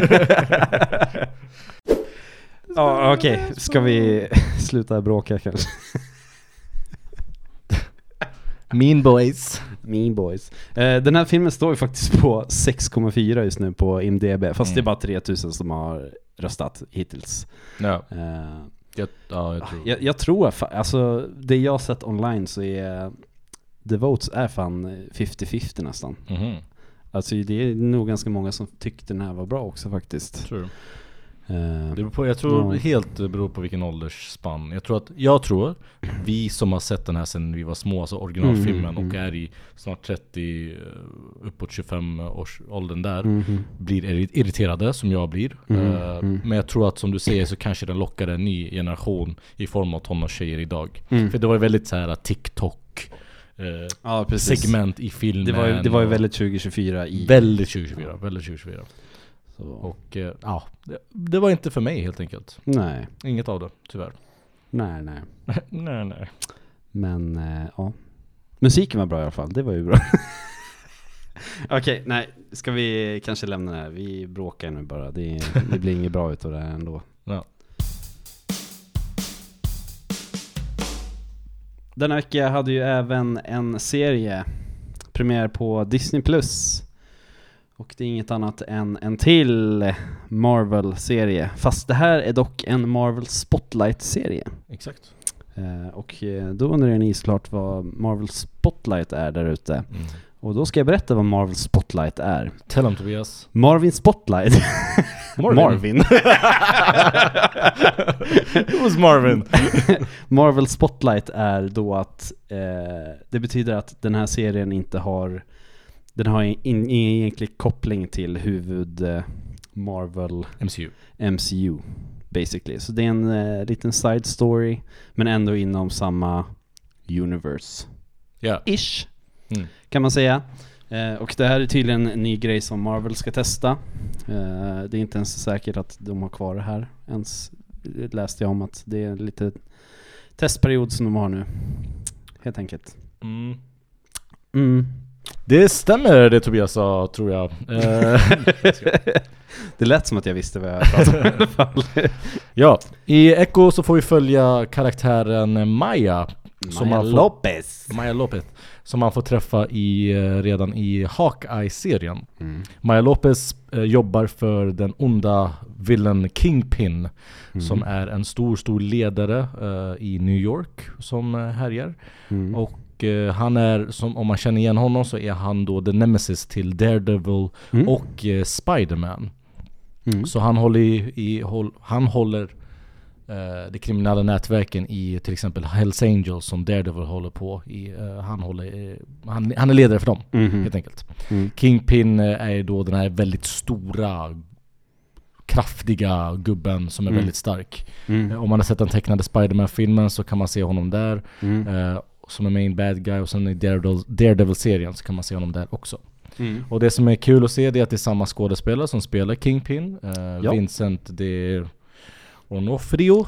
[SPEAKER 1] Ja okej, ska vi sluta bråka kanske?
[SPEAKER 3] Mean boys.
[SPEAKER 1] Mean Boys. Eh, den här filmen står ju faktiskt på 6,4 just nu på IMDB, fast
[SPEAKER 3] Mm.
[SPEAKER 1] det är bara 3000 som har röstat hittills.
[SPEAKER 3] Ja,
[SPEAKER 1] Eh,
[SPEAKER 3] jag, ja, jag tror.
[SPEAKER 1] jag, jag tror, fa- alltså det jag har sett online så är The Votes är fan 50-50 nästan.
[SPEAKER 3] Mhm,
[SPEAKER 1] Alltså det är nog ganska många som tyckte den här var bra också faktiskt.
[SPEAKER 3] tror du?
[SPEAKER 1] Eh,
[SPEAKER 3] Det beror på, jag tror
[SPEAKER 1] Ja.
[SPEAKER 3] helt det beror på vilken åldersspann. Jag tror att, jag tror, vi som har sett den här sedan vi var små, alltså originalfilmen
[SPEAKER 1] Mm, mm.
[SPEAKER 3] och är i snart 30, eh, uppåt 25 års åldern där.
[SPEAKER 1] mhm.
[SPEAKER 3] Blir irri- irriterade som jag blir.
[SPEAKER 1] Mm,
[SPEAKER 3] Eh,
[SPEAKER 1] mm.
[SPEAKER 3] Men jag tror att som du säger så kanske den lockar en ny generation i form av tonårstjejer idag.
[SPEAKER 1] Mm.
[SPEAKER 3] För det var ju väldigt så här TikTok eh,
[SPEAKER 1] Ja precis.
[SPEAKER 3] segment i filmen.
[SPEAKER 1] Det var, ju, det var ju
[SPEAKER 3] och-
[SPEAKER 1] väldigt 2024 i...
[SPEAKER 3] Väldigt 2024, väldigt 2024.
[SPEAKER 1] så.
[SPEAKER 3] Och eh, ja, det, det var inte för mig helt enkelt.
[SPEAKER 1] Nej,
[SPEAKER 3] Inget av det, tyvärr.
[SPEAKER 1] nej, nej.
[SPEAKER 3] nej, nej.
[SPEAKER 1] Men eh, ja. Musiken var bra i alla fall, det var ju bra. Okej, nej. Ska vi kanske lämna det här? Vi bråkar nu bara. Det, är- det blir inget bra utav det här ändå.
[SPEAKER 3] Ja.
[SPEAKER 1] Denna vecka hade ju även en serie premiär på Disney+. Plus Och det är inget annat än en till Marvel-serie. Fast det här är dock en Marvel Spotlight-serie.
[SPEAKER 3] Exakt.
[SPEAKER 1] Eh, Och eh, då undrar ni såklart vad Marvel Spotlight är där ute.
[SPEAKER 3] Mm.
[SPEAKER 1] Och då ska jag berätta vad Marvel Spotlight är.
[SPEAKER 3] Tell him Tobias.
[SPEAKER 1] Marvin Spotlight. Marvin.
[SPEAKER 3] It was Marvin.
[SPEAKER 1] Marvel Spotlight är då att eh, det betyder att den här serien inte har den har in- ingen egentlig koppling till huvud eh, Marvel
[SPEAKER 3] MCU.
[SPEAKER 1] MCU basically. Så det är en eh, liten side story men ändå inom samma universe.
[SPEAKER 3] Ja.
[SPEAKER 1] Ish.
[SPEAKER 3] Mm.
[SPEAKER 1] kan man säga. Eh, och det här är tydligen en ny grej som Marvel ska testa. Eh, det är inte ens säkert att de har kvar det här ens. Det läste jag om att det är lite testperiod som de har nu. Helt enkelt.
[SPEAKER 3] Mm.
[SPEAKER 1] Mm.
[SPEAKER 3] Det stämmer det Tobias sa, tror jag. Eh,
[SPEAKER 1] det lät som att jag visste vad jag pratade om i alla fall.
[SPEAKER 3] ja, i Echo så får vi följa karaktären Maya. Som man får-
[SPEAKER 1] Lopez.
[SPEAKER 3] Maya Lopez. Som man får träffa i, eh, redan i Hawkeye-serien. Maya Lopez eh, jobbar för den onda villain Kingpin. Som är en stor, stor ledare eh, i New York som eh, härjar. Och eh, han är, som, om man känner igen honom så är han då the nemesis till Daredevil och eh, Spiderman. Så han håller, i, i, håll, han håller eh, de kriminella nätverken i till exempel Hells Angels som Daredevil håller på i. Eh, han, håller, eh, han, han är ledare för dem
[SPEAKER 1] Mm.
[SPEAKER 3] helt
[SPEAKER 1] Mm-hmm.
[SPEAKER 3] enkelt. Kingpin eh, är ju då den här väldigt stora kraftiga gubben som är väldigt stark.
[SPEAKER 1] Mm.
[SPEAKER 3] Eh, Om man har sett den tecknade Spiderman-filmen så kan man se honom där.
[SPEAKER 1] Mm.
[SPEAKER 3] Eh, som är main bad guy och sen i Daredevil- Daredevil-serien så kan man se honom där också.
[SPEAKER 1] Mm.
[SPEAKER 3] Och det som är kul att se det är att det är samma skådespelare som spelar Kingpin. Eh,
[SPEAKER 1] Ja.
[SPEAKER 3] Vincent de Onofrio.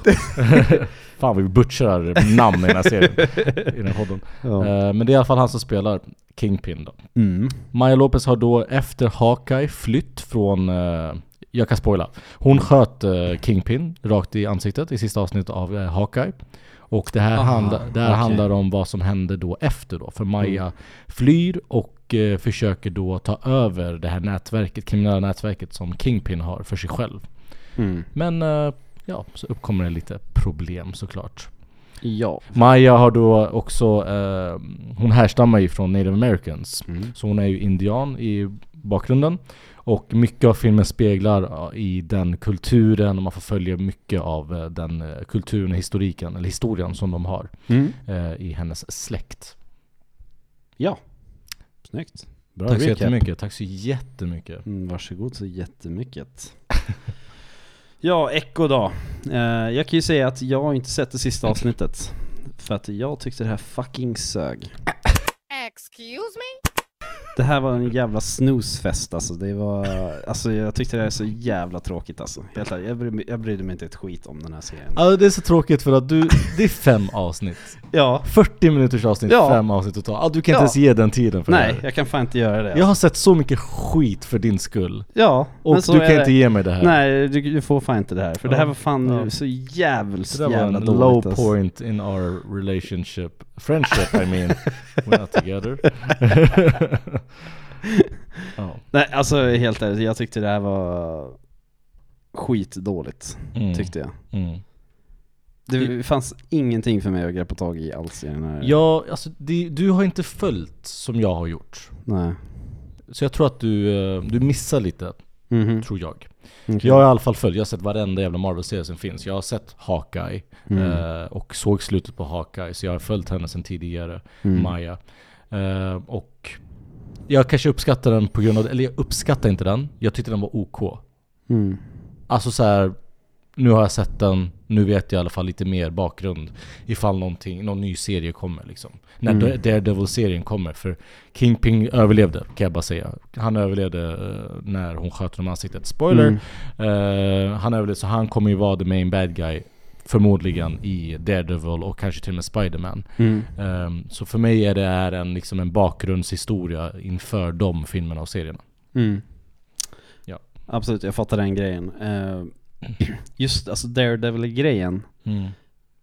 [SPEAKER 3] Fan vi butchrar namn i den här serien. I den här podden. Eh, men det är i alla fall han som spelar Kingpin då.
[SPEAKER 1] Mm.
[SPEAKER 3] Maya Lopez har då efter Hawkeye flytt från, eh, jag kan spoila, hon sköt eh, Kingpin rakt i ansiktet i sista avsnittet av eh, Hawkeye. Och det här,
[SPEAKER 1] Aha,
[SPEAKER 3] handla, det här
[SPEAKER 1] okej. Mm.
[SPEAKER 3] handlar om vad som hände då efter då. För Maya flyr och eh, försöker då ta över det här nätverket, kriminella nätverket som Kingpin har för sig själv.
[SPEAKER 1] Mm.
[SPEAKER 3] Men eh, ja, så uppkommer det lite problem såklart.
[SPEAKER 1] Ja.
[SPEAKER 3] Maya har då också, eh, hon härstammar ju från native americans.
[SPEAKER 1] Mm.
[SPEAKER 3] Så hon är ju indian i bakgrunden. Och mycket av filmen speglar ja, i den kulturen och man får följa mycket av eh, den eh, kulturen och historiken, eller historien som de har
[SPEAKER 1] Mm.
[SPEAKER 3] eh, i hennes släkt.
[SPEAKER 1] Ja. Snyggt. Bra
[SPEAKER 3] Tack så
[SPEAKER 1] recap.
[SPEAKER 3] jättemycket, tack så jättemycket.
[SPEAKER 1] Mm, varsågod så jättemycket. ja, Echo då. Eh, jag kan ju säga att jag har inte sett det sista avsnittet. För att jag tyckte det här fucking sög.
[SPEAKER 2] Excuse me?
[SPEAKER 1] Det här var en jävla snusfest alltså. Det var, alltså jag tyckte det här är så jävla tråkigt alltså. Helt ärligt, jag, bry, mig- jag brydde mig inte ett skit om den här serien.
[SPEAKER 3] Alltså det är så tråkigt för att du, det är fem avsnitt.
[SPEAKER 1] Ja.
[SPEAKER 3] 40 minuters avsnitt,
[SPEAKER 1] Ja.
[SPEAKER 3] fem avsnitt totalt. Ah, du kan inte
[SPEAKER 1] Ja.
[SPEAKER 3] ens ge den tiden för
[SPEAKER 1] Nej,
[SPEAKER 3] det här.
[SPEAKER 1] jag kan fan inte göra det. Alltså.
[SPEAKER 3] Jag har sett så mycket skit för din skull.
[SPEAKER 1] Ja,
[SPEAKER 3] Och
[SPEAKER 1] men så
[SPEAKER 3] du
[SPEAKER 1] är
[SPEAKER 3] kan
[SPEAKER 1] det.
[SPEAKER 3] inte ge mig det här.
[SPEAKER 1] Nej, du, du får fan inte det här. För det här
[SPEAKER 3] Ja.
[SPEAKER 1] var fan
[SPEAKER 3] Ja.
[SPEAKER 1] så jävligt
[SPEAKER 3] Det där var
[SPEAKER 1] jävla
[SPEAKER 3] en
[SPEAKER 1] dåligt
[SPEAKER 3] low
[SPEAKER 1] alltså.
[SPEAKER 3] point in our relationship, friendship I mean, we're not together. ja.
[SPEAKER 1] Nej, alltså helt ärligt, jag tyckte det här var skitdåligt,
[SPEAKER 3] mm,
[SPEAKER 1] tyckte jag.
[SPEAKER 3] Mm.
[SPEAKER 1] Det fanns ingenting för mig att greppa tag i alls i den här.
[SPEAKER 3] Ja, alltså det, du har inte följt som jag har gjort.
[SPEAKER 1] Nej.
[SPEAKER 3] Så jag tror att du, eh, du missar lite,
[SPEAKER 1] Mhm.
[SPEAKER 3] tror jag.
[SPEAKER 1] Okej.
[SPEAKER 3] Jag har i alla fall följt, jag har sett varenda jävla Marvel-serie som finns. Jag har sett Hawkeye eh, och såg slutet på Hawkeye, så jag har följt henne sedan tidigare, Maya. Eh, och jag kanske uppskattar den på grund av, eller jag uppskattar inte den, jag tyckte den var OK.
[SPEAKER 1] Mm.
[SPEAKER 3] Alltså så här, nu har jag sett den, nu vet jag i alla fall lite mer bakgrund. Ifall någonting, någon ny serie kommer liksom. När
[SPEAKER 1] Mm.
[SPEAKER 3] Daredevil-serien kommer, för Kingpin överlevde kan jag bara säga. Han överlevde eh, när hon sköt honom i ansiktet. Spoiler!
[SPEAKER 1] Mm.
[SPEAKER 3] Eh, han överlevde, så han kommer ju vara the main bad guy. Förmodligen i Daredevil och kanske till och med Spiderman.
[SPEAKER 1] Mm.
[SPEAKER 3] Eh, så för mig är det här en, liksom en bakgrundshistoria inför de filmerna och serierna.
[SPEAKER 1] Mm.
[SPEAKER 3] Ja.
[SPEAKER 1] Absolut, jag fattar den grejen. Eh, just alltså Daredevil-grejen.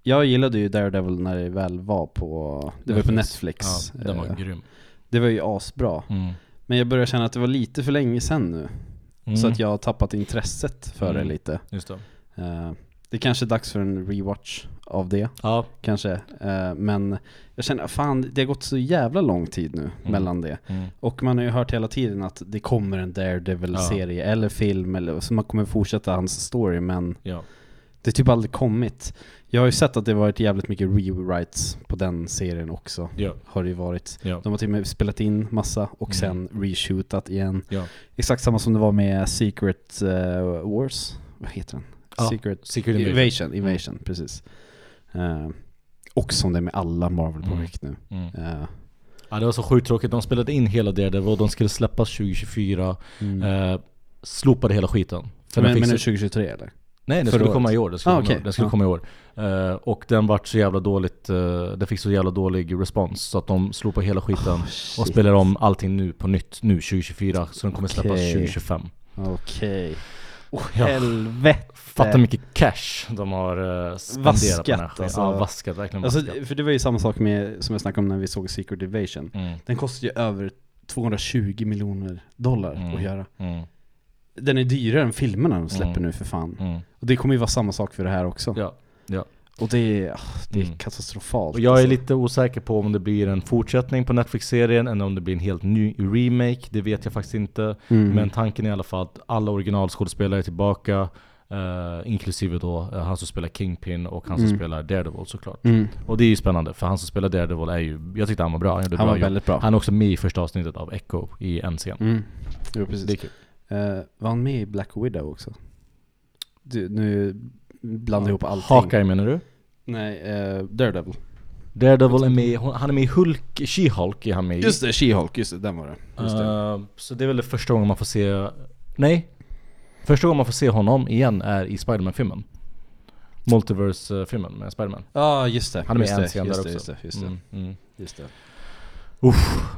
[SPEAKER 1] Jag gillade ju Daredevil när det väl var på, det var ju på Netflix.
[SPEAKER 3] Ja, den var
[SPEAKER 1] Eh,
[SPEAKER 3] grym.
[SPEAKER 1] det var ju asbra.
[SPEAKER 3] Mm.
[SPEAKER 1] Men jag börjar känna att det var lite för länge sedan nu. Så
[SPEAKER 3] Mm.
[SPEAKER 1] att jag har tappat intresset för
[SPEAKER 3] Mm.
[SPEAKER 1] det lite.
[SPEAKER 3] Just det.
[SPEAKER 1] Eh, det kanske är dags för en rewatch av det,
[SPEAKER 3] Ja,
[SPEAKER 1] kanske. Eh, men jag känner, fan det har gått så jävla lång tid nu mellan det.
[SPEAKER 3] Mm.
[SPEAKER 1] Och man har ju hört hela tiden att det kommer en Daredevil-serie eller film, eller, så man kommer fortsätta hans story, men
[SPEAKER 3] ja.
[SPEAKER 1] det har typ aldrig kommit. Jag har ju sett att det varit jävligt mycket rewrites på den serien också.
[SPEAKER 3] Ja.
[SPEAKER 1] Har det ju varit.
[SPEAKER 3] Ja.
[SPEAKER 1] De har till och med spelat in massa och sen reshootat igen.
[SPEAKER 3] Mm. Ja.
[SPEAKER 1] Exakt samma som det var med Secret eh, Wars. Vad heter den?
[SPEAKER 3] Ja,
[SPEAKER 1] Secret,
[SPEAKER 3] Secret
[SPEAKER 1] Invasion.
[SPEAKER 3] Invasion.
[SPEAKER 1] Invasion, precis. Eh, och som det är med alla Marvel-projekt nu.
[SPEAKER 3] Mm.
[SPEAKER 1] Eh,
[SPEAKER 3] ja, det var så sjukt tråkigt. De spelade in hela Daredevil och de skulle släppas 2024. Eh, slopade hela skiten. För
[SPEAKER 1] Mm. men,
[SPEAKER 3] den
[SPEAKER 1] men nu
[SPEAKER 3] fick så,
[SPEAKER 1] 2023 eller?
[SPEAKER 3] nej, den
[SPEAKER 1] förra
[SPEAKER 3] skulle
[SPEAKER 1] året?
[SPEAKER 3] komma i år. Den
[SPEAKER 1] Ah,
[SPEAKER 3] skulle, komma, i
[SPEAKER 1] okej.
[SPEAKER 3] år. den skulle
[SPEAKER 1] Ja.
[SPEAKER 3] komma i år. Eh, och den vart så jävla dåligt, eh, den fick så jävla dålig respons. Så att de slopade hela skiten och
[SPEAKER 1] Ah, shit.
[SPEAKER 3] spelar om allting nu på nytt nu 2024. Så den kommer släppas
[SPEAKER 1] Okej.
[SPEAKER 3] 2025.
[SPEAKER 1] Okej. Åh
[SPEAKER 3] Ja.
[SPEAKER 1] helvete.
[SPEAKER 3] Fatta mycket cash de har eh, spenderat på den här
[SPEAKER 1] Vaskat,
[SPEAKER 3] skiten.
[SPEAKER 1] alltså.
[SPEAKER 3] Ja, vaskat. Verkligen
[SPEAKER 1] Alltså,
[SPEAKER 3] vaskat.
[SPEAKER 1] för det var ju samma sak med, som jag snackade om när vi såg Secret Invasion.
[SPEAKER 3] Mm,
[SPEAKER 1] Den kostar ju över 220 miljoner dollar
[SPEAKER 3] Mm.
[SPEAKER 1] att göra.
[SPEAKER 3] mm,
[SPEAKER 1] Den är dyrare än filmerna de släpper
[SPEAKER 3] Mm.
[SPEAKER 1] nu för fan.
[SPEAKER 3] mm.
[SPEAKER 1] Och det kommer ju vara samma sak för det här också.
[SPEAKER 3] Ja, ja.
[SPEAKER 1] Och det är, ah, det är
[SPEAKER 3] Mm.
[SPEAKER 1] katastrofalt.
[SPEAKER 3] Och jag är
[SPEAKER 1] alltså.
[SPEAKER 3] lite osäker på om det blir en fortsättning på Netflix-serien eller om det blir en helt ny remake. Det vet jag faktiskt inte.
[SPEAKER 1] Mm.
[SPEAKER 3] Men tanken är i alla fall att alla originalskådespelare är tillbaka. eh, inklusive då eh, han som spelar Kingpin och han som spelar Daredevil såklart.
[SPEAKER 1] Mm.
[SPEAKER 3] Och det är ju spännande för han som spelar Daredevil är ju, jag tyckte han var bra. Han, gjorde
[SPEAKER 1] Han
[SPEAKER 3] bra
[SPEAKER 1] var
[SPEAKER 3] jobb.
[SPEAKER 1] väldigt bra.
[SPEAKER 3] Han är också med i första avsnittet av Echo i en scen.
[SPEAKER 1] Mm. Jo, precis.
[SPEAKER 3] Det är kul.
[SPEAKER 1] Eh, var han med i Black Widow också? Du, nu blandar jag ihop allting.
[SPEAKER 3] Hawkeye menar du?
[SPEAKER 1] Nej, eh, Daredevil.
[SPEAKER 3] Daredevil är med, hon- han är med i Hulk, She-Hulk är han med i.
[SPEAKER 1] Just det, She-Hulk, just det, den var det. Just det.
[SPEAKER 3] Eh, så det är väl det första gången man får se... Nej. Första gången man får se honom igen är i Spiderman-filmen. Multiverse-filmen med Spiderman.
[SPEAKER 1] Ja, Ah, just det.
[SPEAKER 3] Han är med i
[SPEAKER 1] just
[SPEAKER 3] en
[SPEAKER 1] det,
[SPEAKER 3] scen där
[SPEAKER 1] just
[SPEAKER 3] också.
[SPEAKER 1] det, Just det, just det.
[SPEAKER 3] Mm, mm.
[SPEAKER 1] Just det.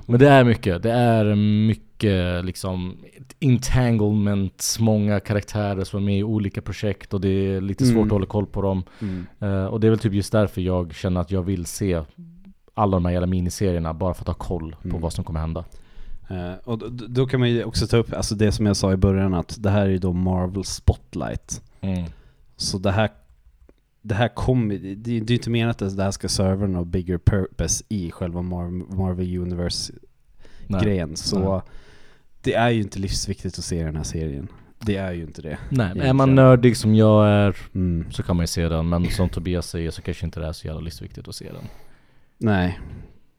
[SPEAKER 3] Men det är mycket. Det är mycket liksom entanglement, många karaktärer som är med i olika projekt och det är lite
[SPEAKER 1] Mm.
[SPEAKER 3] svårt att hålla koll på dem. Eh, och det är väl typ just därför jag känner att jag vill se alla de här jävla miniserierna bara för att ha koll på
[SPEAKER 1] Mm.
[SPEAKER 3] vad som kommer hända.
[SPEAKER 1] Eh, och då, då kan man ju också ta upp, alltså det som jag Mm. sa i början att det här är ju då Marvel Spotlight. Så det här det här kommer, det, det är ju inte menat att det här ska serva någon bigger purpose i själva Mar- Marvel Universe-grejen.
[SPEAKER 3] Nej.
[SPEAKER 1] Så
[SPEAKER 3] Nej.
[SPEAKER 1] det är ju inte livsviktigt att se den här serien. Det är ju inte det.
[SPEAKER 3] Nej, men är
[SPEAKER 1] Egentligen.
[SPEAKER 3] man nördig som jag är
[SPEAKER 1] Mm.
[SPEAKER 3] så kan man ju se den, men som Tobias säger så kanske inte det är så jävla livsviktigt att se den.
[SPEAKER 1] Nej.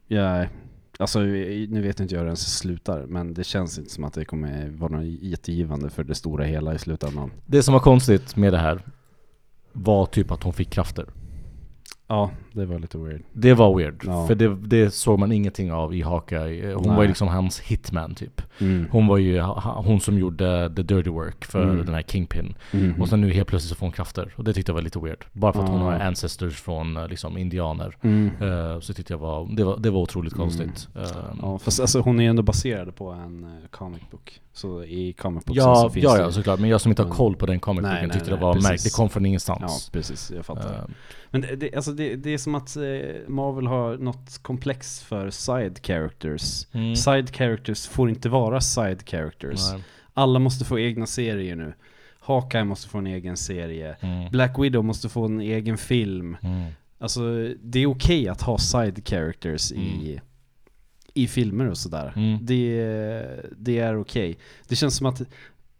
[SPEAKER 1] Jag, alltså nu vet inte jag hur den slutar men det känns inte som att det kommer vara något jättegivande för det stora hela i slutändan.
[SPEAKER 3] Det som var konstigt med det här var typ att hon fick krafter.
[SPEAKER 1] Ja, det var lite weird.
[SPEAKER 3] Det var weird,
[SPEAKER 1] Ja.
[SPEAKER 3] för det, det såg man ingenting av i Hawkeye. Hon
[SPEAKER 1] Nej.
[SPEAKER 3] var ju liksom hans hitman typ.
[SPEAKER 1] Mm.
[SPEAKER 3] Hon var ju ha- ha- hon som gjorde the dirty work för
[SPEAKER 1] Mm.
[SPEAKER 3] den här Kingpin.
[SPEAKER 1] Mhm.
[SPEAKER 3] Och sen nu helt plötsligt så får hon krafter. Och det tyckte jag var lite weird. Bara för att hon
[SPEAKER 1] Ah.
[SPEAKER 3] har ancestors från eh, liksom indianer.
[SPEAKER 1] Mm.
[SPEAKER 3] Eh, Så tyckte jag var, det var, det var otroligt konstigt. Eh,
[SPEAKER 1] Ja, fast alltså, hon är ju ändå baserad på en eh, comic book. Så i comic book så
[SPEAKER 3] Ja,
[SPEAKER 1] finns
[SPEAKER 3] ja,
[SPEAKER 1] det
[SPEAKER 3] ja
[SPEAKER 1] ju-
[SPEAKER 3] såklart. Men jag som inte har
[SPEAKER 1] Men-
[SPEAKER 3] koll på den comic
[SPEAKER 1] Nej,
[SPEAKER 3] booken
[SPEAKER 1] nej,
[SPEAKER 3] tyckte det
[SPEAKER 1] nej,
[SPEAKER 3] var
[SPEAKER 1] precis.
[SPEAKER 3] märkligt. Det kom från
[SPEAKER 1] ja,
[SPEAKER 3] ingenstans.
[SPEAKER 1] precis. Jag fattar.
[SPEAKER 3] Eh,
[SPEAKER 1] Men det, det, alltså det, det är som att eh, Marvel har något komplex för side characters.
[SPEAKER 3] Mm.
[SPEAKER 1] Side characters får inte vara side characters.
[SPEAKER 3] nej.
[SPEAKER 1] Alla måste få egna serier nu. Hawkeye måste få en egen serie.
[SPEAKER 3] Mm.
[SPEAKER 1] Black Widow måste få en egen film.
[SPEAKER 3] Mm.
[SPEAKER 1] Alltså det är okej att ha side characters i, i filmer och sådär.
[SPEAKER 3] Mm.
[SPEAKER 1] Det, det är okej. Det känns som att,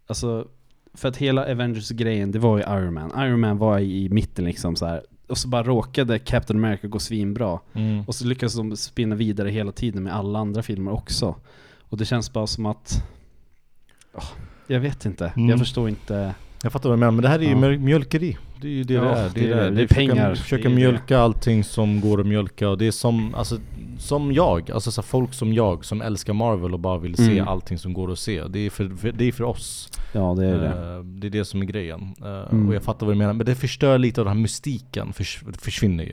[SPEAKER 1] alltså, för att hela Avengers-grejen, det var ju Iron Man. Iron Man var i mitten liksom så här. Och så bara råkade Captain America gå svinbra.
[SPEAKER 3] Mm.
[SPEAKER 1] Och så lyckas de spinna vidare hela tiden med alla andra filmer också. Och det känns bara som att... Ah, jag vet inte.
[SPEAKER 3] Mm.
[SPEAKER 1] Jag förstår inte.
[SPEAKER 3] Jag fattar vad du menar, men det här är ju
[SPEAKER 1] Ja.
[SPEAKER 3] mjöl- mjölkeri. Det är ju det
[SPEAKER 1] Ja,
[SPEAKER 3] det är.
[SPEAKER 1] det är det. Det är
[SPEAKER 3] Vi försöker-
[SPEAKER 1] pengar.
[SPEAKER 3] vi
[SPEAKER 1] Det
[SPEAKER 3] försöker
[SPEAKER 1] är det.
[SPEAKER 3] mjölka allting som går att mjölka. Och det är som, alltså, som jag, alltså så här, folk som jag som älskar Marvel och bara vill se
[SPEAKER 1] Mm.
[SPEAKER 3] allting som går att se. Det är för, för, det är för oss.
[SPEAKER 1] Ja, det är det.
[SPEAKER 3] Eh, det är det som är grejen. Eh,
[SPEAKER 1] Mm.
[SPEAKER 3] Och jag fattar vad du menar, men det förstör lite av den här mystiken, förs försvinner ju.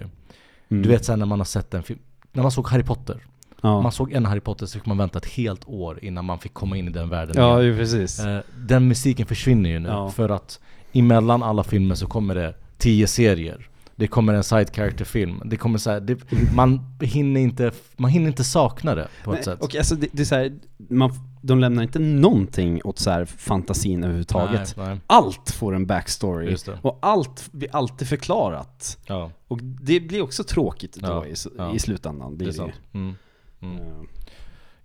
[SPEAKER 1] Mm.
[SPEAKER 3] Du vet sen när man har sett en film, när man såg Harry Potter.
[SPEAKER 1] ja.
[SPEAKER 3] Man såg en Harry Potter så fick man vänta ett helt år innan man fick komma in i den världen igen.
[SPEAKER 1] Ja, ju precis.
[SPEAKER 3] Eh, Den musiken försvinner ju nu
[SPEAKER 1] Ja.
[SPEAKER 3] för att emellan alla filmer så kommer det tio serier. Det kommer en side character film. Det kommer så här, det, man, hinner inte, man hinner inte sakna det på ett
[SPEAKER 1] Nej,
[SPEAKER 3] sätt.
[SPEAKER 1] Och alltså det, det är så här, man, de lämnar inte någonting åt så här fantasin överhuvudtaget.
[SPEAKER 3] Nej, nej.
[SPEAKER 1] Allt får en backstory.
[SPEAKER 3] Just det.
[SPEAKER 1] Och allt blir alltid förklarat.
[SPEAKER 3] Ja,
[SPEAKER 1] Och det blir också tråkigt då
[SPEAKER 3] Ja,
[SPEAKER 1] i, s-
[SPEAKER 3] ja.
[SPEAKER 1] i slutändan. Det,
[SPEAKER 3] det är
[SPEAKER 1] är det ju.
[SPEAKER 3] sant. Mm. Mm.
[SPEAKER 1] Eh,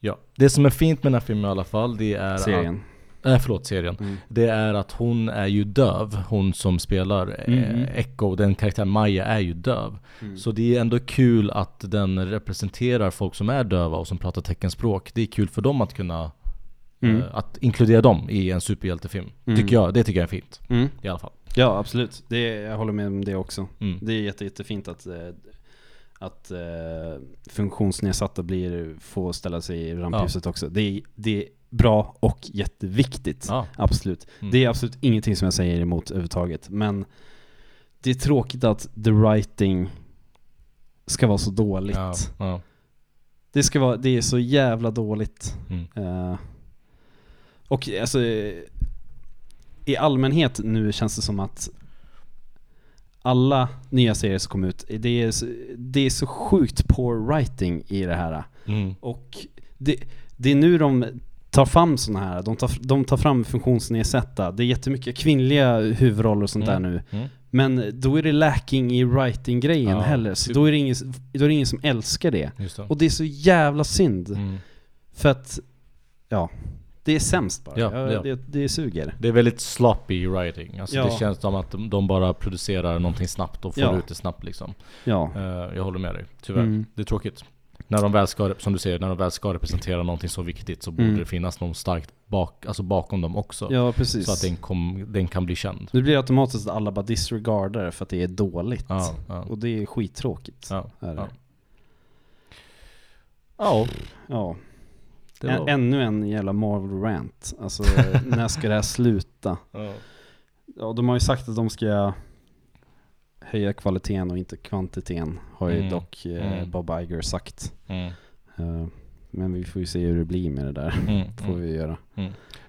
[SPEAKER 3] Ja. Det som är fint med den här filmen i alla fall, det är
[SPEAKER 1] serien.
[SPEAKER 3] Att, äh, förlåt, serien.
[SPEAKER 1] Mm.
[SPEAKER 3] Det är att hon är ju döv. Hon som spelar
[SPEAKER 1] Mhm.
[SPEAKER 3] eh, Echo, den karaktären Maja, är ju döv.
[SPEAKER 1] Mm.
[SPEAKER 3] Så det är ändå kul att den representerar folk som är döva och som pratar teckenspråk. Det är kul för dem att kunna
[SPEAKER 1] Mm.
[SPEAKER 3] eh, att inkludera dem i en superhjältefilm.
[SPEAKER 1] Mm.
[SPEAKER 3] Tycker jag, det tycker jag är fint.
[SPEAKER 1] Mm.
[SPEAKER 3] I alla fall.
[SPEAKER 1] Ja, absolut. Det, jag håller med om det också.
[SPEAKER 3] Mm.
[SPEAKER 1] Det är jätte, jättefint att, eh, att eh, funktionsnedsatta blir, får ställa sig i rampljuset också. Det är, det är bra och jätteviktigt.
[SPEAKER 3] Ja.
[SPEAKER 1] Absolut.
[SPEAKER 3] Mm.
[SPEAKER 1] Det är absolut ingenting som jag säger emot överhuvudtaget. Men det är tråkigt att the writing ska vara så dåligt.
[SPEAKER 3] Ja, ja.
[SPEAKER 1] Det, ska vara, det är så jävla dåligt.
[SPEAKER 3] Mm.
[SPEAKER 1] Eh, och alltså, eh, i allmänhet nu känns det som att alla nya serier som kommer ut, det är, så- det är så sjukt poor writing i det här.
[SPEAKER 3] Mm.
[SPEAKER 1] Och det, det är nu de tar fram sådana här, de tar, de tar fram funktionsnedsatta, det är jättemycket kvinnliga huvudroller och sånt
[SPEAKER 3] Mm.
[SPEAKER 1] där nu.
[SPEAKER 3] Mm.
[SPEAKER 1] Men då är det lacking i writing-grejen
[SPEAKER 3] Ja,
[SPEAKER 1] heller, så
[SPEAKER 3] typ.
[SPEAKER 1] då är, det ingen, då är det ingen som älskar det.
[SPEAKER 3] Just det.
[SPEAKER 1] Och det är så jävla synd.
[SPEAKER 3] Mm.
[SPEAKER 1] För att, ja, det är sämst bara.
[SPEAKER 3] Ja,
[SPEAKER 1] Ja,
[SPEAKER 3] ja.
[SPEAKER 1] Det, det suger.
[SPEAKER 3] Det är väldigt sloppy writing. Alltså
[SPEAKER 1] Ja.
[SPEAKER 3] Det känns som att de, de bara producerar någonting snabbt och får
[SPEAKER 1] Ja.
[SPEAKER 3] ut det snabbt liksom.
[SPEAKER 1] Ja.
[SPEAKER 3] Eh, jag håller med dig, tyvärr.
[SPEAKER 1] Mm.
[SPEAKER 3] Det är tråkigt. När de väl ska, som du säger, när de väl ska representera någonting så viktigt så borde
[SPEAKER 1] Mm.
[SPEAKER 3] det finnas någon starkt bak, alltså bakom dem också.
[SPEAKER 1] ja, precis.
[SPEAKER 3] Så att den, kom, den kan bli känd.
[SPEAKER 1] Nu blir det automatiskt att alla bara disregardar det för att det är dåligt.
[SPEAKER 3] Ja, ja,
[SPEAKER 1] Och det är skittråkigt.
[SPEAKER 3] ja,
[SPEAKER 1] är det.
[SPEAKER 3] ja. Ja,
[SPEAKER 1] Ja.
[SPEAKER 3] det var...
[SPEAKER 1] Ä- Ännu en jävla Marvel rant. Alltså, när ska det här sluta?
[SPEAKER 3] Ja.
[SPEAKER 1] Ja, de har ju sagt att de ska höja kvaliteten och inte kvantiteten. Har ju
[SPEAKER 3] Mm.
[SPEAKER 1] dock eh,
[SPEAKER 3] Mm.
[SPEAKER 1] Bob Iger sagt.
[SPEAKER 3] Mm.
[SPEAKER 1] Eh, men vi får ju se hur det blir med det där.
[SPEAKER 3] Mm.
[SPEAKER 1] får vi göra.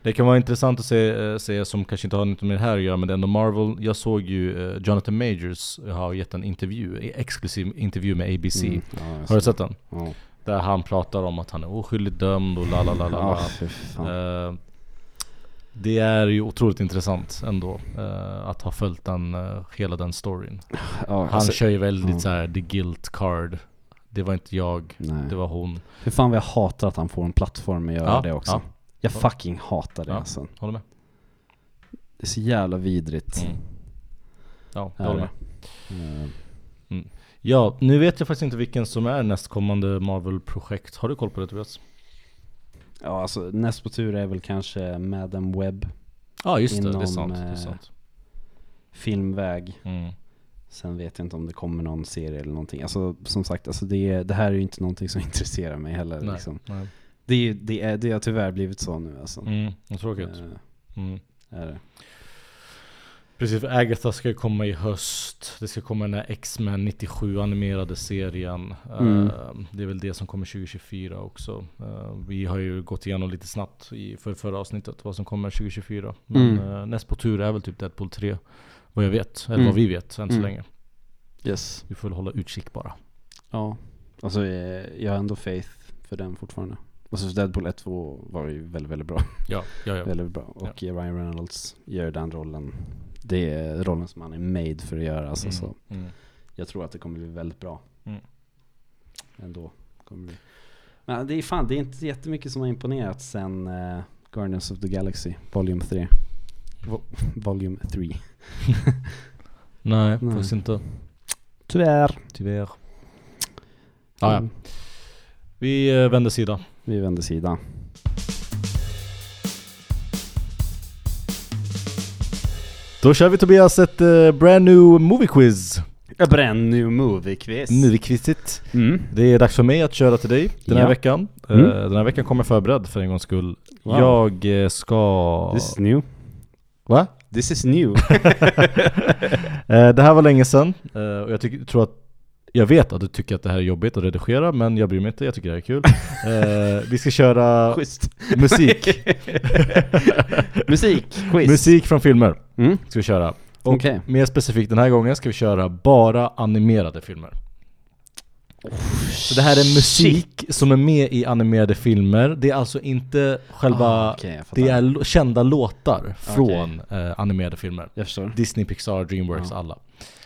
[SPEAKER 3] Det kan vara intressant att se, eh, se, som kanske inte har något med det här att göra, men det är ändå Marvel. Jag såg ju eh, Jonathan Majors har gett en intervju, en exklusiv intervju med ABC.
[SPEAKER 1] Mm. Ja, jag
[SPEAKER 3] Har du
[SPEAKER 1] ser.
[SPEAKER 3] sett den?
[SPEAKER 1] Ja.
[SPEAKER 3] Där Eh, han pratar om att han är oskyldigt dömd och la la la la la.
[SPEAKER 1] Ja, fy fan.
[SPEAKER 3] Eh, Det är ju otroligt intressant ändå eh, att ha följt den, eh, hela den storyn.
[SPEAKER 1] Ja,
[SPEAKER 3] Han
[SPEAKER 1] alltså,
[SPEAKER 3] kör ju väldigt
[SPEAKER 1] ja.
[SPEAKER 3] så här the guilt card. Det var inte jag,
[SPEAKER 1] nej.
[SPEAKER 3] det var hon.
[SPEAKER 1] Hur fan vad jag hatar att han får en plattform att göra
[SPEAKER 3] Ja,
[SPEAKER 1] det också.
[SPEAKER 3] ja.
[SPEAKER 1] Jag fucking hatar det
[SPEAKER 3] Ja.
[SPEAKER 1] alltså.
[SPEAKER 3] Håller med?
[SPEAKER 1] Det är så jävla vidrigt.
[SPEAKER 3] Mm. Ja, jag
[SPEAKER 1] Är
[SPEAKER 3] håller
[SPEAKER 1] det.
[SPEAKER 3] med. Mm.
[SPEAKER 1] Eh,
[SPEAKER 3] Ja, nu vet jag faktiskt inte vilken som är nästkommande Marvel-projekt. Har du koll på det Tobias?
[SPEAKER 1] Ja alltså näst på tur är väl kanske Madam Web
[SPEAKER 3] Ja just det, det är
[SPEAKER 1] Inom,
[SPEAKER 3] sant. Det är
[SPEAKER 1] eh,
[SPEAKER 3] sant.
[SPEAKER 1] filmväg.
[SPEAKER 3] Mm.
[SPEAKER 1] Sen vet jag inte om det kommer någon serie eller någonting. Alltså som sagt, alltså det, är- det här är ju inte någonting som intresserar mig heller.
[SPEAKER 3] Nej.
[SPEAKER 1] Liksom.
[SPEAKER 3] Nej.
[SPEAKER 1] Det, är- det, är, det har tyvärr blivit så nu alltså.
[SPEAKER 3] Mm, vad tråkigt.
[SPEAKER 1] Eh,
[SPEAKER 3] Mm.
[SPEAKER 1] är det.
[SPEAKER 3] Precis, för Agatha ska ju komma i höst. Det ska komma den här X-Men 97 animerade serien.
[SPEAKER 1] Mm.
[SPEAKER 3] Eh, Det är väl det som kommer 2024 också. Eh, Vi har ju gått igenom lite snabbt i för förra avsnittet vad som kommer 2024. Men
[SPEAKER 1] Mm.
[SPEAKER 3] eh, näst på tur är väl typ Deadpool 3. Vad jag vet, eller
[SPEAKER 1] Mm.
[SPEAKER 3] vad vi vet än så
[SPEAKER 1] Mm.
[SPEAKER 3] länge.
[SPEAKER 1] Yes.
[SPEAKER 3] Vi får väl hålla utkik bara.
[SPEAKER 1] Ja. Alltså eh, jag har ändå faith för den fortfarande. Alltså för Deadpool 1 2 var ju väldigt, väldigt bra.
[SPEAKER 3] Ja, ja, ja.
[SPEAKER 1] Väldigt bra. Och Ryan Reynolds gör den rollen. Det är rollen som han är made för att göra. Alltså,
[SPEAKER 3] Mm,
[SPEAKER 1] så
[SPEAKER 3] mm.
[SPEAKER 1] jag tror att det kommer bli väldigt bra.
[SPEAKER 3] Mm.
[SPEAKER 1] Ändå. Kommer det bli. Men det är fan, det är inte jättemycket som har imponerat sen eh, Guardians of the Galaxy Volume 3. Vo- volume 3.
[SPEAKER 3] Nej,
[SPEAKER 1] Nej.
[SPEAKER 3] faktiskt inte.
[SPEAKER 1] Tyvärr.
[SPEAKER 3] Tyvärr. Ah, ja.
[SPEAKER 1] Mm,
[SPEAKER 3] Vi eh, vänder sida.
[SPEAKER 1] Vi vänder sida.
[SPEAKER 3] Då kör vi Tobias ett eh, brand new movie quiz.
[SPEAKER 1] A brand new movie quiz.
[SPEAKER 3] Movie-quizet.
[SPEAKER 1] Mm.
[SPEAKER 3] Det är dags för mig att köra till dig den här
[SPEAKER 1] Ja.
[SPEAKER 3] veckan. Eh,
[SPEAKER 1] Mm.
[SPEAKER 3] Den här veckan kommer jag förberedd för en gångs skull.
[SPEAKER 1] Wow.
[SPEAKER 3] Jag eh, ska...
[SPEAKER 1] This is new.
[SPEAKER 3] Va?
[SPEAKER 1] This is new.
[SPEAKER 3] Eh, Det här var länge sedan eh, och jag tycker- tror att jag vet att du tycker att det här är jobbigt att redigera men jag bryr mig inte, jag tycker det här är kul. Eh, vi ska köra
[SPEAKER 1] Schysst.
[SPEAKER 3] musik.
[SPEAKER 1] Musik. Quiz.
[SPEAKER 3] musik från filmer
[SPEAKER 1] Mm.
[SPEAKER 3] ska vi köra. Och
[SPEAKER 1] Okej.
[SPEAKER 3] mer specifikt den här gången ska vi köra bara animerade filmer. Så det här är musik som är med i animerade filmer. Det är alltså inte själva...
[SPEAKER 1] Ah, okej, jag fattar.
[SPEAKER 3] det är lo- kända låtar från eh, animerade filmer.
[SPEAKER 1] Jag förstår.
[SPEAKER 3] Disney, Pixar, Dreamworks,
[SPEAKER 1] Ah.
[SPEAKER 3] alla.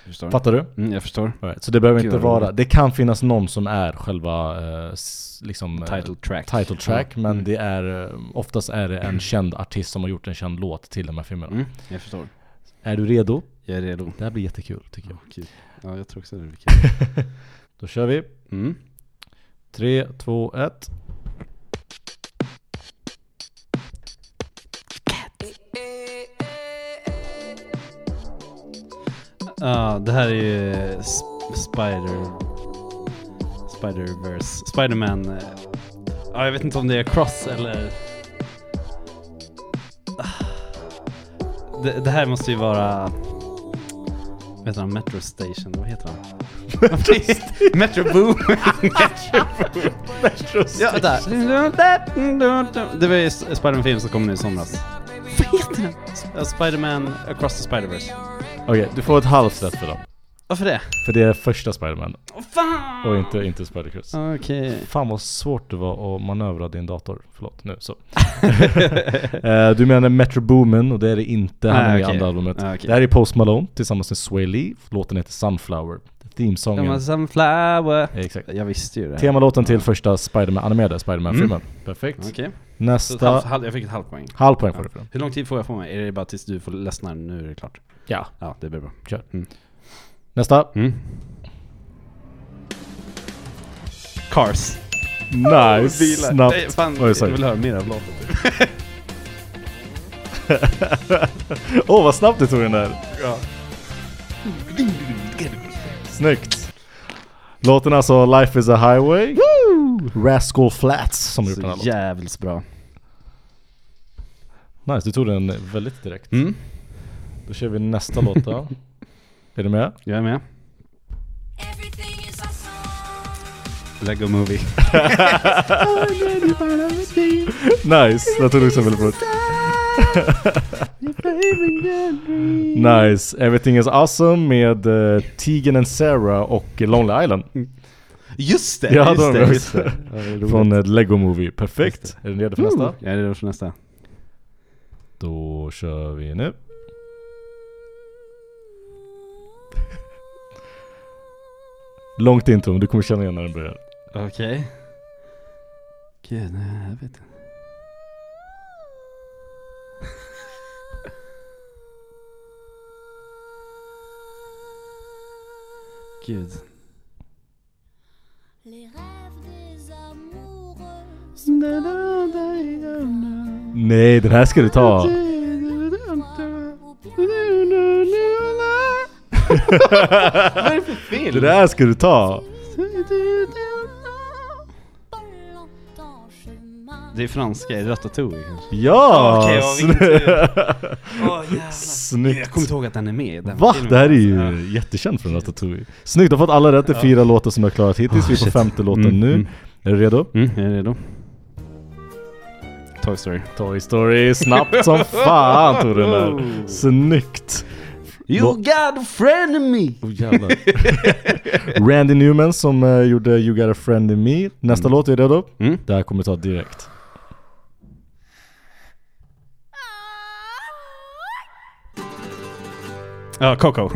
[SPEAKER 1] Jag förstår.
[SPEAKER 3] Fattar du?
[SPEAKER 1] Mm, jag förstår.
[SPEAKER 3] All Right, så det behöver
[SPEAKER 1] Gud,
[SPEAKER 3] inte
[SPEAKER 1] vad roligt.
[SPEAKER 3] vara... Det kan finnas någon som är själva eh, s- liksom, eh,
[SPEAKER 1] Title Mm. track.
[SPEAKER 3] title track men det är, eh, oftast är det en känd artist som har gjort en känd låt till de här filmerna.
[SPEAKER 1] Mm, jag förstår.
[SPEAKER 3] Är du redo?
[SPEAKER 1] Jag är redo.
[SPEAKER 3] Det här blir jättekul tycker jag.
[SPEAKER 1] Kul. Ja, jag tror också det blir kul.
[SPEAKER 3] Då kör vi.
[SPEAKER 1] Mm.
[SPEAKER 3] 3, 2, 1.
[SPEAKER 1] Ja, det här är ju sp- Spider... Spider-Verse. Spider-Man. eh. Ja, jag vet inte om det är Cross eller... Ah. Det, det här måste ju vara... Vad heter han? Metro Station? Vad heter han? Metro Boom! Ja, där. Det var ju Spider-Man-film som kom nu i somras. Vad heter den? Ja, Spider-Man Across the Spider-Verse.
[SPEAKER 3] Okej, du får ett halvt rätt för dem.
[SPEAKER 1] Varför det?
[SPEAKER 3] För det är första Spiderman
[SPEAKER 1] Fan!
[SPEAKER 3] och inte, inte Spider-Cross.
[SPEAKER 1] Okej.
[SPEAKER 3] Fan vad svårt det var att manövra din dator. Förlåt, nu så. Eh, du menar Metro Boomin och det är det inte. Han
[SPEAKER 1] Nej,
[SPEAKER 3] är med i
[SPEAKER 1] Ah, okej.
[SPEAKER 3] andra albumet.
[SPEAKER 1] Ja, okej.
[SPEAKER 3] Det här är Post Malone tillsammans med Sway Lee. Låten heter Sunflower. Themesången.
[SPEAKER 1] Okay. Sunflower.
[SPEAKER 3] Eh, Exakt.
[SPEAKER 1] Jag visste ju det.
[SPEAKER 3] Temalåten till första Spiderman, animerade Spiderman-filmen. Perfekt.
[SPEAKER 1] Mm. Okej. Så ett halvt-
[SPEAKER 3] Nästa.
[SPEAKER 1] halv- Jag fick ett halvt poäng.
[SPEAKER 3] Halv poäng får du för den.
[SPEAKER 1] Hur lång tid får jag på mig? Är det bara tills du får ledsna? Nu är det klart.
[SPEAKER 3] Ja,
[SPEAKER 1] Ja, det blir bra.
[SPEAKER 3] kör.
[SPEAKER 1] Mm.
[SPEAKER 3] Nästa.
[SPEAKER 1] Mm. Cars.
[SPEAKER 3] Nice! Snabbt!
[SPEAKER 1] Nej, fan,
[SPEAKER 3] Oj,
[SPEAKER 1] jag
[SPEAKER 3] sorry.
[SPEAKER 1] vill höra mer av låten.
[SPEAKER 3] Åh vad snabbt du tog den där! Snyggt! Låten alltså Life is a highway Rascal Flats som har gjort den här
[SPEAKER 1] Så
[SPEAKER 3] låten
[SPEAKER 1] jävligt bra.
[SPEAKER 3] Nice, du tog den väldigt direkt
[SPEAKER 1] Mm.
[SPEAKER 3] Då kör vi nästa låt då Är du med?
[SPEAKER 1] Jag är med. Lego Movie.
[SPEAKER 3] Nice! Den tog du också väldigt bra Nice! Everything is awesome med uh, Tegan and Sarah och Lonely Island
[SPEAKER 1] Mm. Just det!
[SPEAKER 3] Ja,
[SPEAKER 1] just
[SPEAKER 3] då
[SPEAKER 1] det,
[SPEAKER 3] har vi
[SPEAKER 1] just
[SPEAKER 3] det.
[SPEAKER 1] det. Ja, det är roligt.
[SPEAKER 3] Från eh, Lego Movie, perfekt! Är du redo för nästa?
[SPEAKER 1] Jag är redo för nästa.
[SPEAKER 3] Då kör vi nu. Långt intro, men du kommer känna igen när den börjar.
[SPEAKER 1] Okej. Gud, nej, jag vet inte. Gud.
[SPEAKER 3] Nej, den här ska du ta.
[SPEAKER 1] Vad är det för film?
[SPEAKER 3] Den här ska du ta.
[SPEAKER 1] Det är franska, är det Ratatouille kanske?
[SPEAKER 3] Ja!
[SPEAKER 1] Okej, vad min
[SPEAKER 3] Snyggt.
[SPEAKER 1] Jag kommer inte ihåg att den är med i den
[SPEAKER 3] Va?
[SPEAKER 1] filmen.
[SPEAKER 3] Det här är ju jättekänt från Ratatouille. Snyggt, du har fått alla rätt. Det är fyra låtar som du har klarat hittills. vi är på
[SPEAKER 1] Ah, shit.
[SPEAKER 3] femte låten
[SPEAKER 1] Mm,
[SPEAKER 3] nu.
[SPEAKER 1] mm.
[SPEAKER 3] Är du redo?
[SPEAKER 1] Mm, jag är redo. Toy Story.
[SPEAKER 3] Toy Story, snabbt som fan tog den där. Snyggt! Lå-
[SPEAKER 1] got a friend in me!
[SPEAKER 3] Oh, jävlar. Randy Newman som eh, gjorde You Got A Friend In Me. Nästa låt, är du redo?
[SPEAKER 1] Mm.
[SPEAKER 3] Det här kommer du ta direkt.
[SPEAKER 5] Ah,
[SPEAKER 1] Ja, Coco.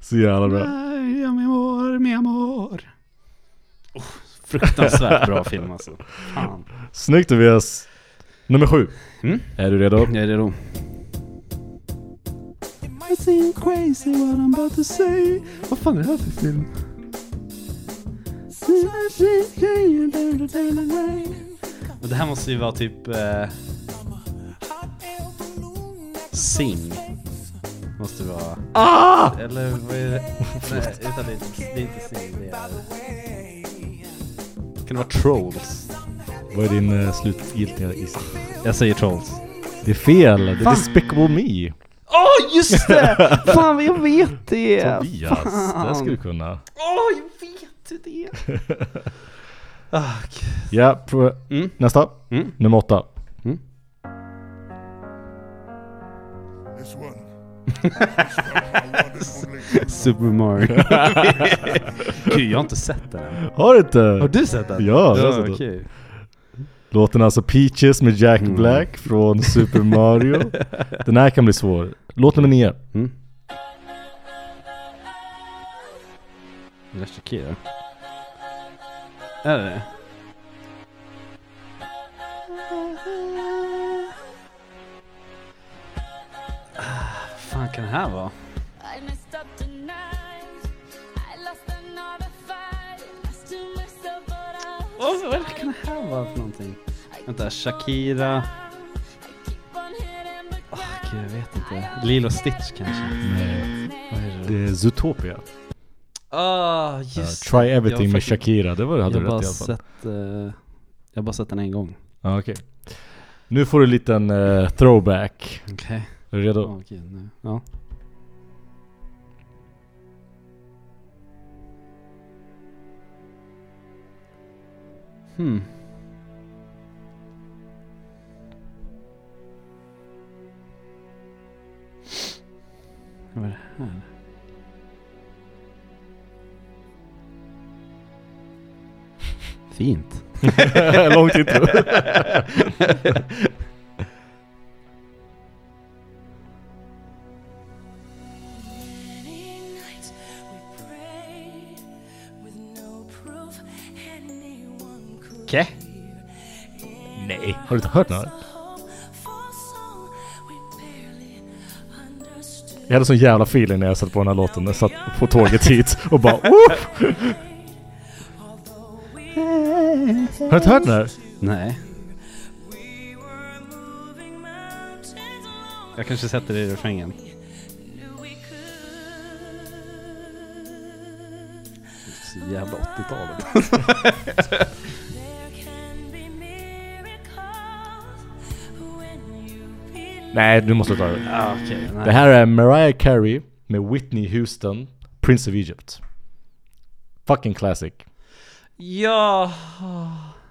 [SPEAKER 3] Så jävla bra.
[SPEAKER 1] Ay, mi amor, mi amor. Oh, fruktansvärt bra film alltså. Fan.
[SPEAKER 3] Snyggt Tobias! Nummer sju.
[SPEAKER 1] Mm.
[SPEAKER 3] Är du redo?
[SPEAKER 1] Jag är redo. I seem crazy what I'm about to say. Vad fan är det här för film? Och det här måste ju vara typ... Eh... Sing. Måste det vara.
[SPEAKER 3] Ah!
[SPEAKER 1] Eller vad är det? Nej, utan det, är- det är inte Sing. Det är... Kan det vara Trolls?
[SPEAKER 3] Vad är din uh, slutgiltiga gissning?
[SPEAKER 1] Jag säger Trolls.
[SPEAKER 3] Det är fel. Det är Despicable Me.
[SPEAKER 1] Åh oh, just det! Fan jag vet det!
[SPEAKER 3] Tobias, det ska du kunna.
[SPEAKER 1] Åh jag vet det! Ah, gud.
[SPEAKER 3] Ja, prova.
[SPEAKER 1] Mm.
[SPEAKER 3] nästa.
[SPEAKER 1] Mm.
[SPEAKER 3] Nummer åtta.
[SPEAKER 7] This one. This one I wanted
[SPEAKER 1] Super Mario. gud jag har inte sett den än.
[SPEAKER 3] Har du inte?
[SPEAKER 1] Har du sett den?
[SPEAKER 3] Ja, jag har sett
[SPEAKER 1] ja
[SPEAKER 3] den.
[SPEAKER 1] okej.
[SPEAKER 3] Låten alltså Peaches med Jack Black från Super Mario. Den här kan bli svår. Låt nummer nio.
[SPEAKER 5] ah,
[SPEAKER 1] Electric Key då. Är det det? Ah, vad fan kan det här vara?
[SPEAKER 5] I messed up tonight. I lost another fight. I still myself, but I
[SPEAKER 1] Oh, vad kan det här vara för någonting? Vänta, Shakira...
[SPEAKER 5] keep on hitting the
[SPEAKER 1] Åh, gud, jag vet inte. Lilo Stitch kanske? Vad är det?
[SPEAKER 3] Det är Zootopia.
[SPEAKER 1] Ah,
[SPEAKER 3] Uh,
[SPEAKER 1] just
[SPEAKER 3] Try Everything med
[SPEAKER 1] fucking-
[SPEAKER 3] Shakira, det var det
[SPEAKER 1] Jag
[SPEAKER 3] hade
[SPEAKER 1] har
[SPEAKER 3] du
[SPEAKER 1] bara
[SPEAKER 3] rätt i alla fall.
[SPEAKER 1] sett... eh, jag har bara sett den en gång.
[SPEAKER 3] Ja, okej. Nu får du en liten eh, throwback.
[SPEAKER 1] Okej.
[SPEAKER 3] Är du redo?
[SPEAKER 1] Åh, gud, nu. Ja. Hmm. Vad är det här? Fint.
[SPEAKER 3] Långt intro.
[SPEAKER 5] many nights we prayed with no proof anyone could
[SPEAKER 1] Okej.
[SPEAKER 3] Nej. Har du inte hört den här?
[SPEAKER 5] hope for song we barely understood.
[SPEAKER 3] Jag hade sån jävla feeling när jag satt på den här låten. Jag satt på tåget hit och bara Woof! Har du inte hört den här?
[SPEAKER 1] Nej. Jag kanske sätter det i refrängen. Så jävla 80-talet.
[SPEAKER 5] There can be miracles when you believe.
[SPEAKER 3] Nej, du måste ta den.
[SPEAKER 1] Ah, Okej,
[SPEAKER 3] Det
[SPEAKER 1] okay,
[SPEAKER 3] här är Mariah Carey med Whitney Houston, Prince of Egypt. Fucking classic.
[SPEAKER 1] Ja!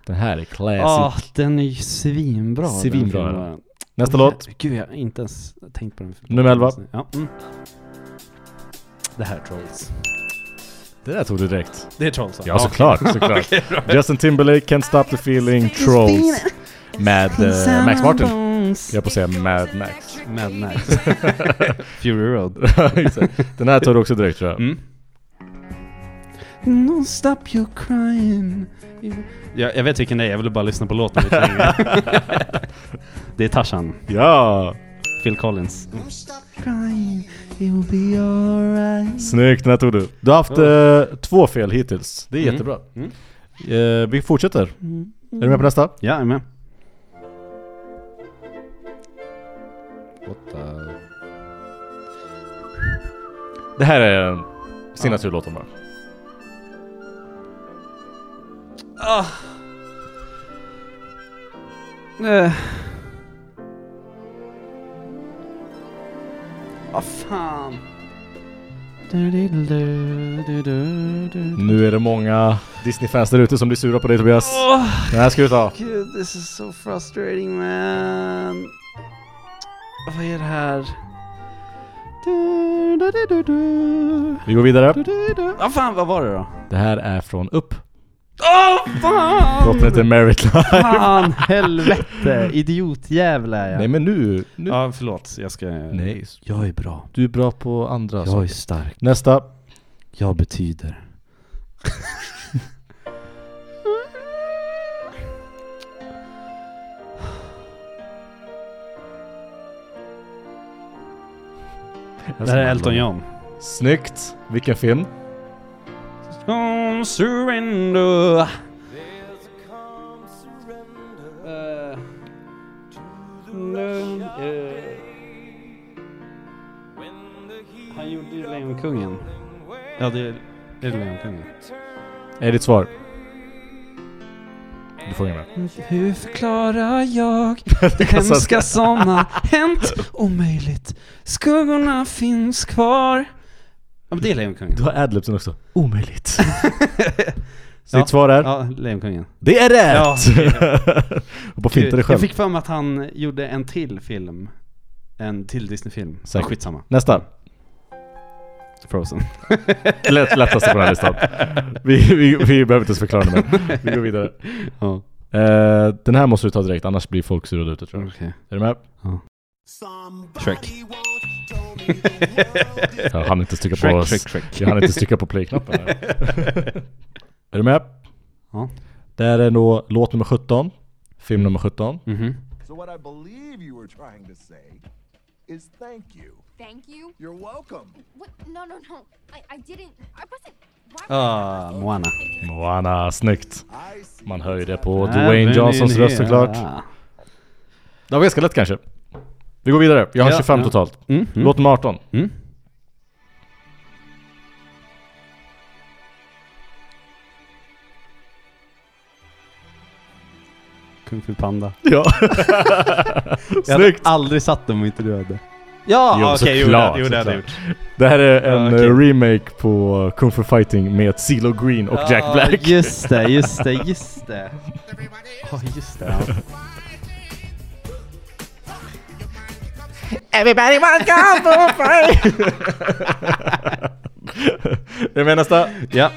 [SPEAKER 3] Den här är classic.
[SPEAKER 1] Ah, den är ju svinbra. den
[SPEAKER 3] Svinbra är den.
[SPEAKER 1] filmen.
[SPEAKER 3] Nästa
[SPEAKER 1] Jä-
[SPEAKER 3] låt.
[SPEAKER 1] Gud, jag har inte ens tänkt på den. mm.
[SPEAKER 3] Nummer elva.
[SPEAKER 1] Ja. Mm. Det här är Trolls.
[SPEAKER 3] Det där tog du direkt.
[SPEAKER 1] Det är Trolls va?
[SPEAKER 3] Ja, såklart. såklart. Justin Timberlake, Can't Stop The Feeling, Trolls. Med eh, Max Martin. Jag höll på att säga Mad Max.
[SPEAKER 1] Mad Max. Fury Road.
[SPEAKER 3] Exakt. Den här tar du också direkt tror jag.
[SPEAKER 1] Mm. No stop your crying. Jag, jag vet vilken det är, jag ville bara lyssna på låten lite längre. det är Tarzan,
[SPEAKER 3] Ja!
[SPEAKER 1] Phil Collins. Crying, it will be alright.
[SPEAKER 3] Snyggt, den här tog du. Du har haft eh, två fel hittills. Det är
[SPEAKER 1] Mm.
[SPEAKER 3] jättebra.
[SPEAKER 1] Mm.
[SPEAKER 3] Eh, vi fortsätter. Är du med på nästa?
[SPEAKER 1] Ja, jag är med.
[SPEAKER 3] Det här är en signaturlåt om bara.
[SPEAKER 1] Ah. Eh. Vad fan. Du, du, du, du, du, du.
[SPEAKER 3] Nu är det många Disney-fans där ute som blir sura på dig Tobias.
[SPEAKER 1] Åh,
[SPEAKER 3] Den här ska du ta.
[SPEAKER 1] gud, this is so frustrating man. Vad är det här? Du, du, du, du, du.
[SPEAKER 3] Vi går vidare.
[SPEAKER 1] Du, du, du. Vad fan, vad var det då?
[SPEAKER 3] Det här är från Upp.
[SPEAKER 1] Åh fan!
[SPEAKER 3] Låten heter Merit Live.
[SPEAKER 1] Fan, helvete. Idiotjävel är jag.
[SPEAKER 3] Nej men nu... nu.
[SPEAKER 1] Ja, förlåt. Jag ska...
[SPEAKER 3] Nej,
[SPEAKER 1] Jag är bra.
[SPEAKER 3] du är bra på andra
[SPEAKER 1] Jag är
[SPEAKER 3] saker.
[SPEAKER 1] stark.
[SPEAKER 3] Nästa.
[SPEAKER 1] Jag betyder. Det här är Elton John.
[SPEAKER 3] Snyggt! Vilken film?
[SPEAKER 1] Don't surrender. Eh. Lugn, eh. Han gjorde ju Lejonkungen. Ja, det är, det är Lejonkungen.
[SPEAKER 3] Är ditt svar? Du får inga med.
[SPEAKER 1] Hur förklarar jag det
[SPEAKER 3] Alltså,
[SPEAKER 1] hemska som har hänt? Omöjligt. Skuggorna finns kvar. Ja, men det är Lejonkungen.
[SPEAKER 3] Du har adlibsen också. Omöjligt. Så
[SPEAKER 1] Ja.
[SPEAKER 3] ditt svar är?
[SPEAKER 1] Ja, Lejonkungen.
[SPEAKER 3] Det är
[SPEAKER 1] Ja,
[SPEAKER 3] rätt! Och på fintar dig
[SPEAKER 1] jag
[SPEAKER 3] själv.
[SPEAKER 1] fick för mig att han gjorde en till film. En till Disney-film. Ja,
[SPEAKER 3] Säkert.
[SPEAKER 1] skitsamma.
[SPEAKER 3] Nästa.
[SPEAKER 1] Frozen.
[SPEAKER 3] Lätt, lättaste på den här listan. Vi, vi, vi behöver inte ens förklara det mer. Vi går vidare.
[SPEAKER 1] Ja,
[SPEAKER 3] Eh, den här måste du ta direkt, annars blir folk sura där ute tror jag.
[SPEAKER 1] okej.
[SPEAKER 3] Är du med?
[SPEAKER 1] Mm. Shrek.
[SPEAKER 3] Jag hann inte stryka på
[SPEAKER 1] Shrek,
[SPEAKER 3] oss.
[SPEAKER 1] Shrek, Shrek.
[SPEAKER 3] Jag hann inte stryka på playknappen. här. är du med?
[SPEAKER 1] Ja.
[SPEAKER 3] Det här är då låt nummer 17. Film nummer 17.
[SPEAKER 1] Mhm.
[SPEAKER 7] So what I believe you were trying to say is thank you.
[SPEAKER 5] Thank you.
[SPEAKER 7] You're welcome.
[SPEAKER 5] What? No, no, no. I, I didn't. I wasn't. Why would I
[SPEAKER 1] Ah,
[SPEAKER 5] do
[SPEAKER 1] Moana.
[SPEAKER 5] anything?
[SPEAKER 3] Moana, snyggt.
[SPEAKER 7] I see.
[SPEAKER 3] Man hör ju det på
[SPEAKER 1] Även
[SPEAKER 3] Dwayne Johsons
[SPEAKER 1] in
[SPEAKER 3] röst
[SPEAKER 1] here.
[SPEAKER 3] såklart.
[SPEAKER 1] Ja.
[SPEAKER 3] Det var ganska lätt kanske. Vi går vidare. Jag har
[SPEAKER 1] Ja,
[SPEAKER 3] 25
[SPEAKER 1] ja.
[SPEAKER 3] totalt.
[SPEAKER 1] Mm, mm.
[SPEAKER 3] Låt nummer 18.
[SPEAKER 1] Mm. Kung Fu Panda.
[SPEAKER 3] Ja.
[SPEAKER 1] Jag hade
[SPEAKER 3] Snyggt!
[SPEAKER 1] aldrig satt dem om inte du hade. Ja,
[SPEAKER 3] Jo,
[SPEAKER 1] Ah, okej, jo, det
[SPEAKER 3] såklart,
[SPEAKER 1] hade- jo, det hade jag
[SPEAKER 3] såklart.
[SPEAKER 1] gjort.
[SPEAKER 3] Det här är en
[SPEAKER 1] Ja, okej.
[SPEAKER 3] eh, remake på Kung Fu Fighting med CeeLo Green och Jack
[SPEAKER 1] Ah, Ja,
[SPEAKER 3] Black.
[SPEAKER 1] Just det, just det, just det. Ja, just det. ja.
[SPEAKER 3] Är du med nästa?
[SPEAKER 1] Ja.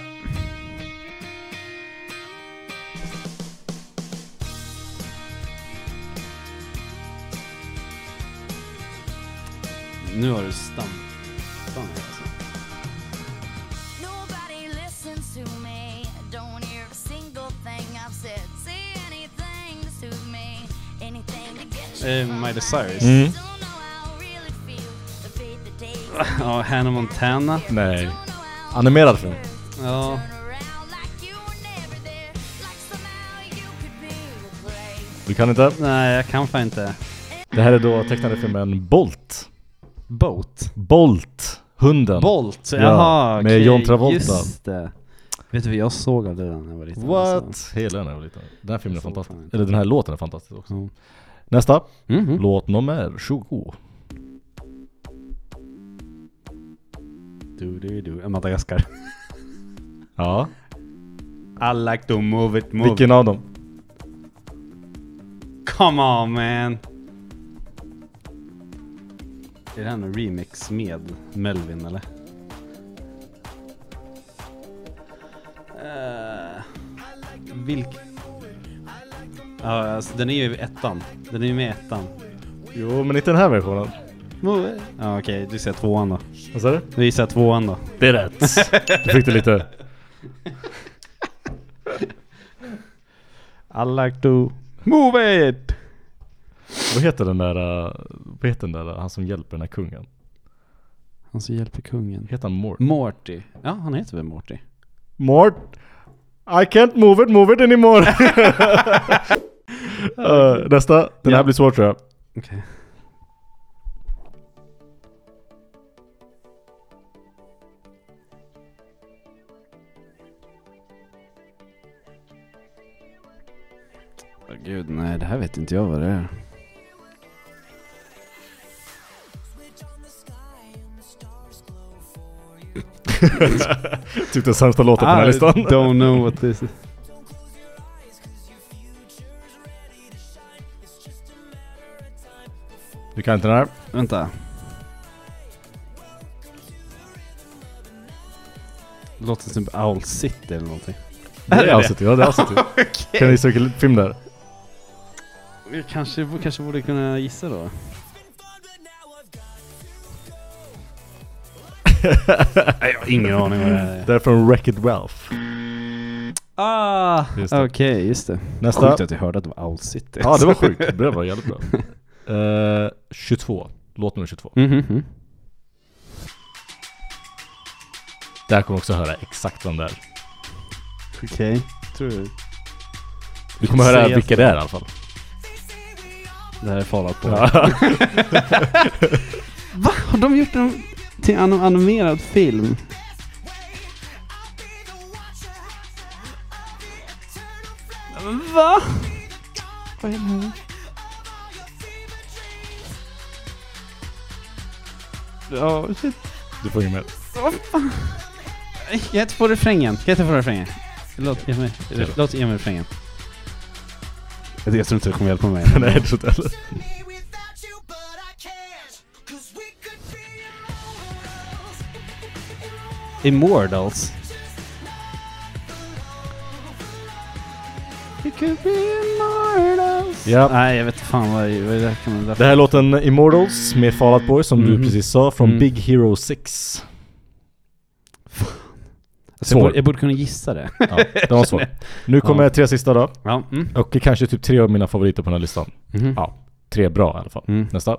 [SPEAKER 1] Nu har du stamp. stamp, alltså.
[SPEAKER 5] Nobody listens to me. Don't hear a single thing I've said. Say anything to suit me. Anything to get you.
[SPEAKER 1] Eh,
[SPEAKER 5] from
[SPEAKER 1] Miley
[SPEAKER 5] my
[SPEAKER 1] Cyrus.
[SPEAKER 5] head.
[SPEAKER 3] Mm.
[SPEAKER 5] Don't know how I really feel. The fate that takes
[SPEAKER 1] Ja, Hannah Montana.
[SPEAKER 3] Nej. Animerad film.
[SPEAKER 1] Ja.
[SPEAKER 5] around like you were never there. Like somehow you could be replaced.
[SPEAKER 3] Du kan inte?
[SPEAKER 1] Nej, jag kan fan inte.
[SPEAKER 3] Det här är då tecknade filmen Bolt.
[SPEAKER 1] Boat.
[SPEAKER 3] Bolt. Hunden.
[SPEAKER 1] Bolt,
[SPEAKER 3] Ja,
[SPEAKER 1] jaha.
[SPEAKER 3] med
[SPEAKER 1] okej,
[SPEAKER 3] John Travolta.
[SPEAKER 1] Just det. Vet du vad jag såg av det där när jag var liten? alltså?
[SPEAKER 3] What? Hela den här liten. Den här filmen är
[SPEAKER 1] Så
[SPEAKER 3] fantastisk.
[SPEAKER 1] fan.
[SPEAKER 3] Eller den här låten är fantastisk också.
[SPEAKER 1] Mm.
[SPEAKER 3] Nästa.
[SPEAKER 1] Mhm.
[SPEAKER 3] Låt nummer 20.
[SPEAKER 1] Du, du, du. Madagaskar.
[SPEAKER 3] Ja.
[SPEAKER 1] I like to move it, move
[SPEAKER 3] Vilken av dem?
[SPEAKER 1] it. Come on man. Är det här en remix med Melvin eller? Eh, Vilk... Ja, alltså, den är ju i ettan. Den är ju med i ettan.
[SPEAKER 3] Jo, men inte den här versionen.
[SPEAKER 1] Ja, okej, du säger tvåan då.
[SPEAKER 3] Vad sa du?
[SPEAKER 1] Du gissar tvåan då.
[SPEAKER 3] Det är rätt. Då fick du lite...
[SPEAKER 1] I like to move it!
[SPEAKER 3] Vad heter den där... eh, Vad heter den där, eh, han som hjälper den här kungen?
[SPEAKER 1] Han som hjälper kungen.
[SPEAKER 3] Heter han Mort?
[SPEAKER 1] Morty. Ja, han heter väl Morty?
[SPEAKER 3] Mort? I can't move it, move it anymore! Eh, nästa. Den här
[SPEAKER 1] Ja.
[SPEAKER 3] blir svår tror jag.
[SPEAKER 1] Okej. Åh Gud, nej det här vet inte jag vad det är.
[SPEAKER 3] Typ den sämsta låten på den här listan.
[SPEAKER 1] Ah, don't know what this is.
[SPEAKER 3] Du kan inte den här.
[SPEAKER 1] Vänta. Låter som Owl City eller någonting.
[SPEAKER 3] Det är Alcity, ja det är Alcity. Kan ni söka film där?
[SPEAKER 1] Jag kanske, kanske borde kunna gissa då. Nej, jag har ingen aning vad det här är.
[SPEAKER 3] Det är från Wreck-It Ralph.
[SPEAKER 1] Ah,
[SPEAKER 3] Just det.
[SPEAKER 1] okej, just det.
[SPEAKER 3] Nästa.
[SPEAKER 1] Sjukt att jag hörde att det var Owl City.
[SPEAKER 3] Ja det var sjukt, det var jävligt bra. Eh, 22, låt nummer 22.
[SPEAKER 1] Mhm, mhm.
[SPEAKER 3] Där kommer också höra exakt vem det är.
[SPEAKER 1] Okej. Tror du
[SPEAKER 3] Du kommer höra
[SPEAKER 1] Säg
[SPEAKER 3] vilka det är i alla fall.
[SPEAKER 1] det här är farligt på? Va? Har de gjort den till en animerad film? Va? Vad är det här? Ja, shit.
[SPEAKER 3] Du får ju med.
[SPEAKER 1] Jag heter på refrängen. Jag heter på refrängen. Låt, ge mig, låt, ge mig refrängen. Jag tror inte du kommer hjälpa mig.
[SPEAKER 3] Nej det tror inte heller.
[SPEAKER 1] Immortals. It could be immortals.
[SPEAKER 3] Ja.
[SPEAKER 1] Nej, jag vet fan vad, vad det kan man...
[SPEAKER 3] Det här är låten Immortals med Fall Out Boy som
[SPEAKER 1] Mhm.
[SPEAKER 3] du precis sa från
[SPEAKER 1] Mm.
[SPEAKER 3] Big Hero 6.
[SPEAKER 1] jag, borde,
[SPEAKER 3] Svår.
[SPEAKER 1] jag borde kunna gissa det.
[SPEAKER 3] Ja, den var svår. Nu kommer
[SPEAKER 1] Ja.
[SPEAKER 3] tre sista då.
[SPEAKER 1] ja. Mm.
[SPEAKER 3] Och kanske typ tre av mina favoriter på den här listan.
[SPEAKER 1] Mhm.
[SPEAKER 3] Ja, tre bra i alla fall.
[SPEAKER 1] Mm.
[SPEAKER 3] Nästa.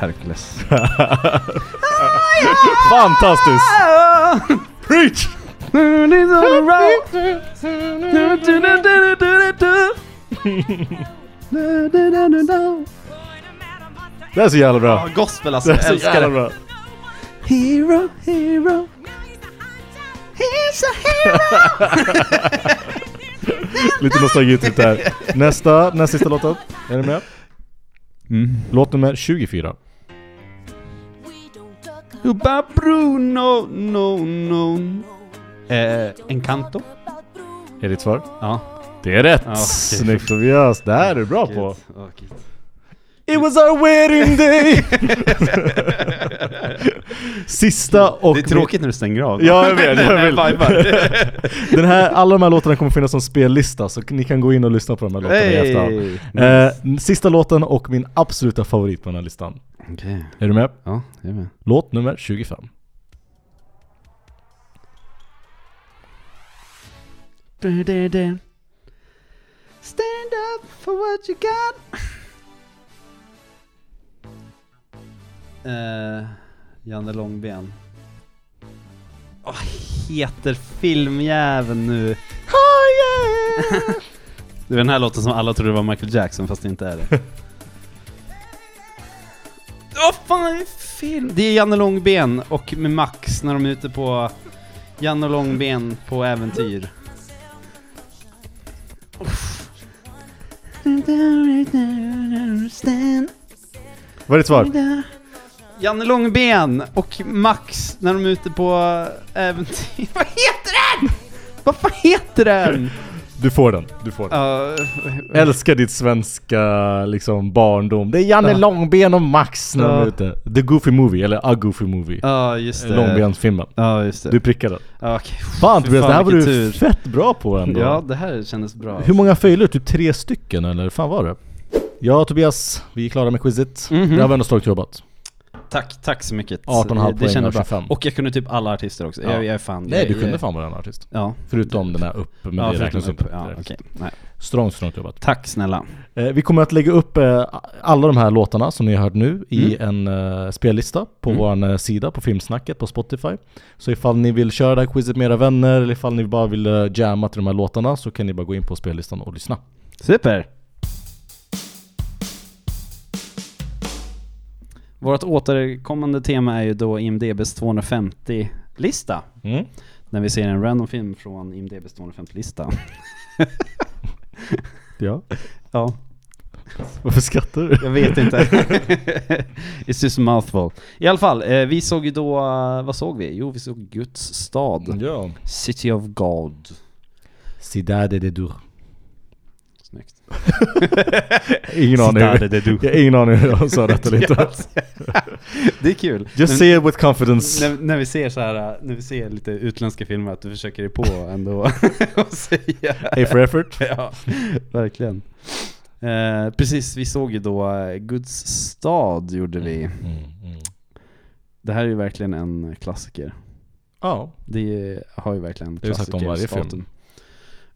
[SPEAKER 1] Hercules.
[SPEAKER 3] Fantastiskt! Preach! Det här är så jävla bra.
[SPEAKER 1] Gospel alltså,
[SPEAKER 3] Det här
[SPEAKER 1] jag
[SPEAKER 3] är så jävla
[SPEAKER 1] älskar det.
[SPEAKER 3] bra.
[SPEAKER 1] Hero, hero. He's a hero.
[SPEAKER 3] Lite nostalgitrip där. Nästa, näst sista låten. Är ni med?
[SPEAKER 1] Mm.
[SPEAKER 3] Låt nummer 24.
[SPEAKER 1] Uba Bruno, no, no. Eh, Encanto?
[SPEAKER 3] Är ditt svar?
[SPEAKER 1] Ja.
[SPEAKER 3] Det är rätt!
[SPEAKER 1] Ja, okej.
[SPEAKER 3] Snyggt Tobias, det här är du bra på!
[SPEAKER 1] Ja, gud.
[SPEAKER 3] It was our wedding day! Sista och...
[SPEAKER 1] Det är tråkigt när du stänger av.
[SPEAKER 3] Ja jag vet, jag
[SPEAKER 1] Nej,
[SPEAKER 3] vill. Den här, alla de här låtarna kommer finnas som spellista så ni kan gå in och lyssna på de här låtarna i efterhand.
[SPEAKER 1] Hey.
[SPEAKER 3] Eh, sista låten och min absoluta favorit på den här listan.
[SPEAKER 1] Okej,
[SPEAKER 3] Är du med?
[SPEAKER 1] ja, jag är med.
[SPEAKER 3] Låt nummer 25.
[SPEAKER 1] Stand up for what you got. Eh, Janne Långben. Vad heter filmjäveln nu? det är den här låten som alla trodde var Michael Jackson fast det inte är det. Åh fan, det är film! Det är Janne Långben och med Max när de är ute på Janne Långben på äventyr.
[SPEAKER 3] Vad är ditt svar?
[SPEAKER 1] Janne Långben och Max när eh, de är ute på äventyr. Vad heter den? Vad fan heter den?
[SPEAKER 3] Du får den, du får den. Älskar ditt svenska liksom barndom. Det är Janne
[SPEAKER 1] Ja.
[SPEAKER 3] Långben och Max när de är
[SPEAKER 1] Ja.
[SPEAKER 3] ute. The Goofy Movie, eller A Goofy Movie.
[SPEAKER 1] Ja, just det.
[SPEAKER 3] Långbenfilmen.
[SPEAKER 1] Ja, just det.
[SPEAKER 3] Du prickade den.
[SPEAKER 1] Ja, okej.
[SPEAKER 3] Fan
[SPEAKER 1] Fy
[SPEAKER 3] Tobias, det här var
[SPEAKER 1] vilken
[SPEAKER 3] du fett bra på ändå.
[SPEAKER 1] Ja, det här kändes bra.
[SPEAKER 3] Hur många failure? Typ tre stycken eller? Fan var det? Ja Tobias, vi är klara med quizet. Det här var ändå starkt jobbat.
[SPEAKER 1] Tack, tack så mycket.
[SPEAKER 3] 18,5
[SPEAKER 1] Det
[SPEAKER 3] poäng
[SPEAKER 1] kändes
[SPEAKER 3] av
[SPEAKER 1] bra.
[SPEAKER 3] 25.
[SPEAKER 1] Och jag kunde typ alla artister också.
[SPEAKER 3] Ja.
[SPEAKER 1] Jag, jag är fan...
[SPEAKER 3] Nej
[SPEAKER 1] jag,
[SPEAKER 3] du kunde
[SPEAKER 1] jag,
[SPEAKER 3] fan vara en artist.
[SPEAKER 1] Ja.
[SPEAKER 3] Förutom den här upp, men
[SPEAKER 1] ja,
[SPEAKER 3] det räknas
[SPEAKER 1] förutom
[SPEAKER 3] inte.
[SPEAKER 1] upp. Ja,
[SPEAKER 3] Det räknas.
[SPEAKER 1] okej. Nej.
[SPEAKER 3] Strongt, strongt jobbat.
[SPEAKER 1] Tack snälla.
[SPEAKER 3] Eh, Vi kommer att lägga upp eh, alla de här låtarna som ni har hört nu i
[SPEAKER 1] Mm.
[SPEAKER 3] en eh, spellista på vår eh, sida på Filmsnacket på Spotify. Så ifall ni vill köra det här quizet med era vänner eller ifall ni bara vill eh, jamma till de här låtarna så kan ni bara gå in på spellistan och lyssna.
[SPEAKER 1] Super! Vårt återkommande tema är ju då IMDBs 250-lista.
[SPEAKER 3] Mm.
[SPEAKER 1] När vi ser en random film från IMDBs 250-lista.
[SPEAKER 3] Ja.
[SPEAKER 1] Ja,
[SPEAKER 3] Varför skrattar du?
[SPEAKER 1] jag vet inte. It's just a mouthful. I alla fall, eh, vi såg ju då, eh, vad såg vi? Jo, vi såg Guds stad.
[SPEAKER 3] Ja.
[SPEAKER 1] City of God.
[SPEAKER 3] Cidade de Dur.
[SPEAKER 1] Snyggt.
[SPEAKER 3] Ingen aning.
[SPEAKER 1] Cidade de Dur.
[SPEAKER 3] Jag har ingen aning hur jag sa detta lite.
[SPEAKER 1] Det är kul.
[SPEAKER 3] Just say it with confidence.
[SPEAKER 1] När, när vi ser så här, äh, när vi ser lite utländska filmer att du försöker dig på ändå att säga.
[SPEAKER 3] A for effort.
[SPEAKER 1] Ja, verkligen. Eh, precis, vi såg ju då eh, Guds stad gjorde vi.
[SPEAKER 3] Mm.
[SPEAKER 1] Det här är ju verkligen en klassiker.
[SPEAKER 3] Ja,
[SPEAKER 1] Det har ju verkligen
[SPEAKER 3] Det har vi sagt om varje film.
[SPEAKER 1] klassikerstatus.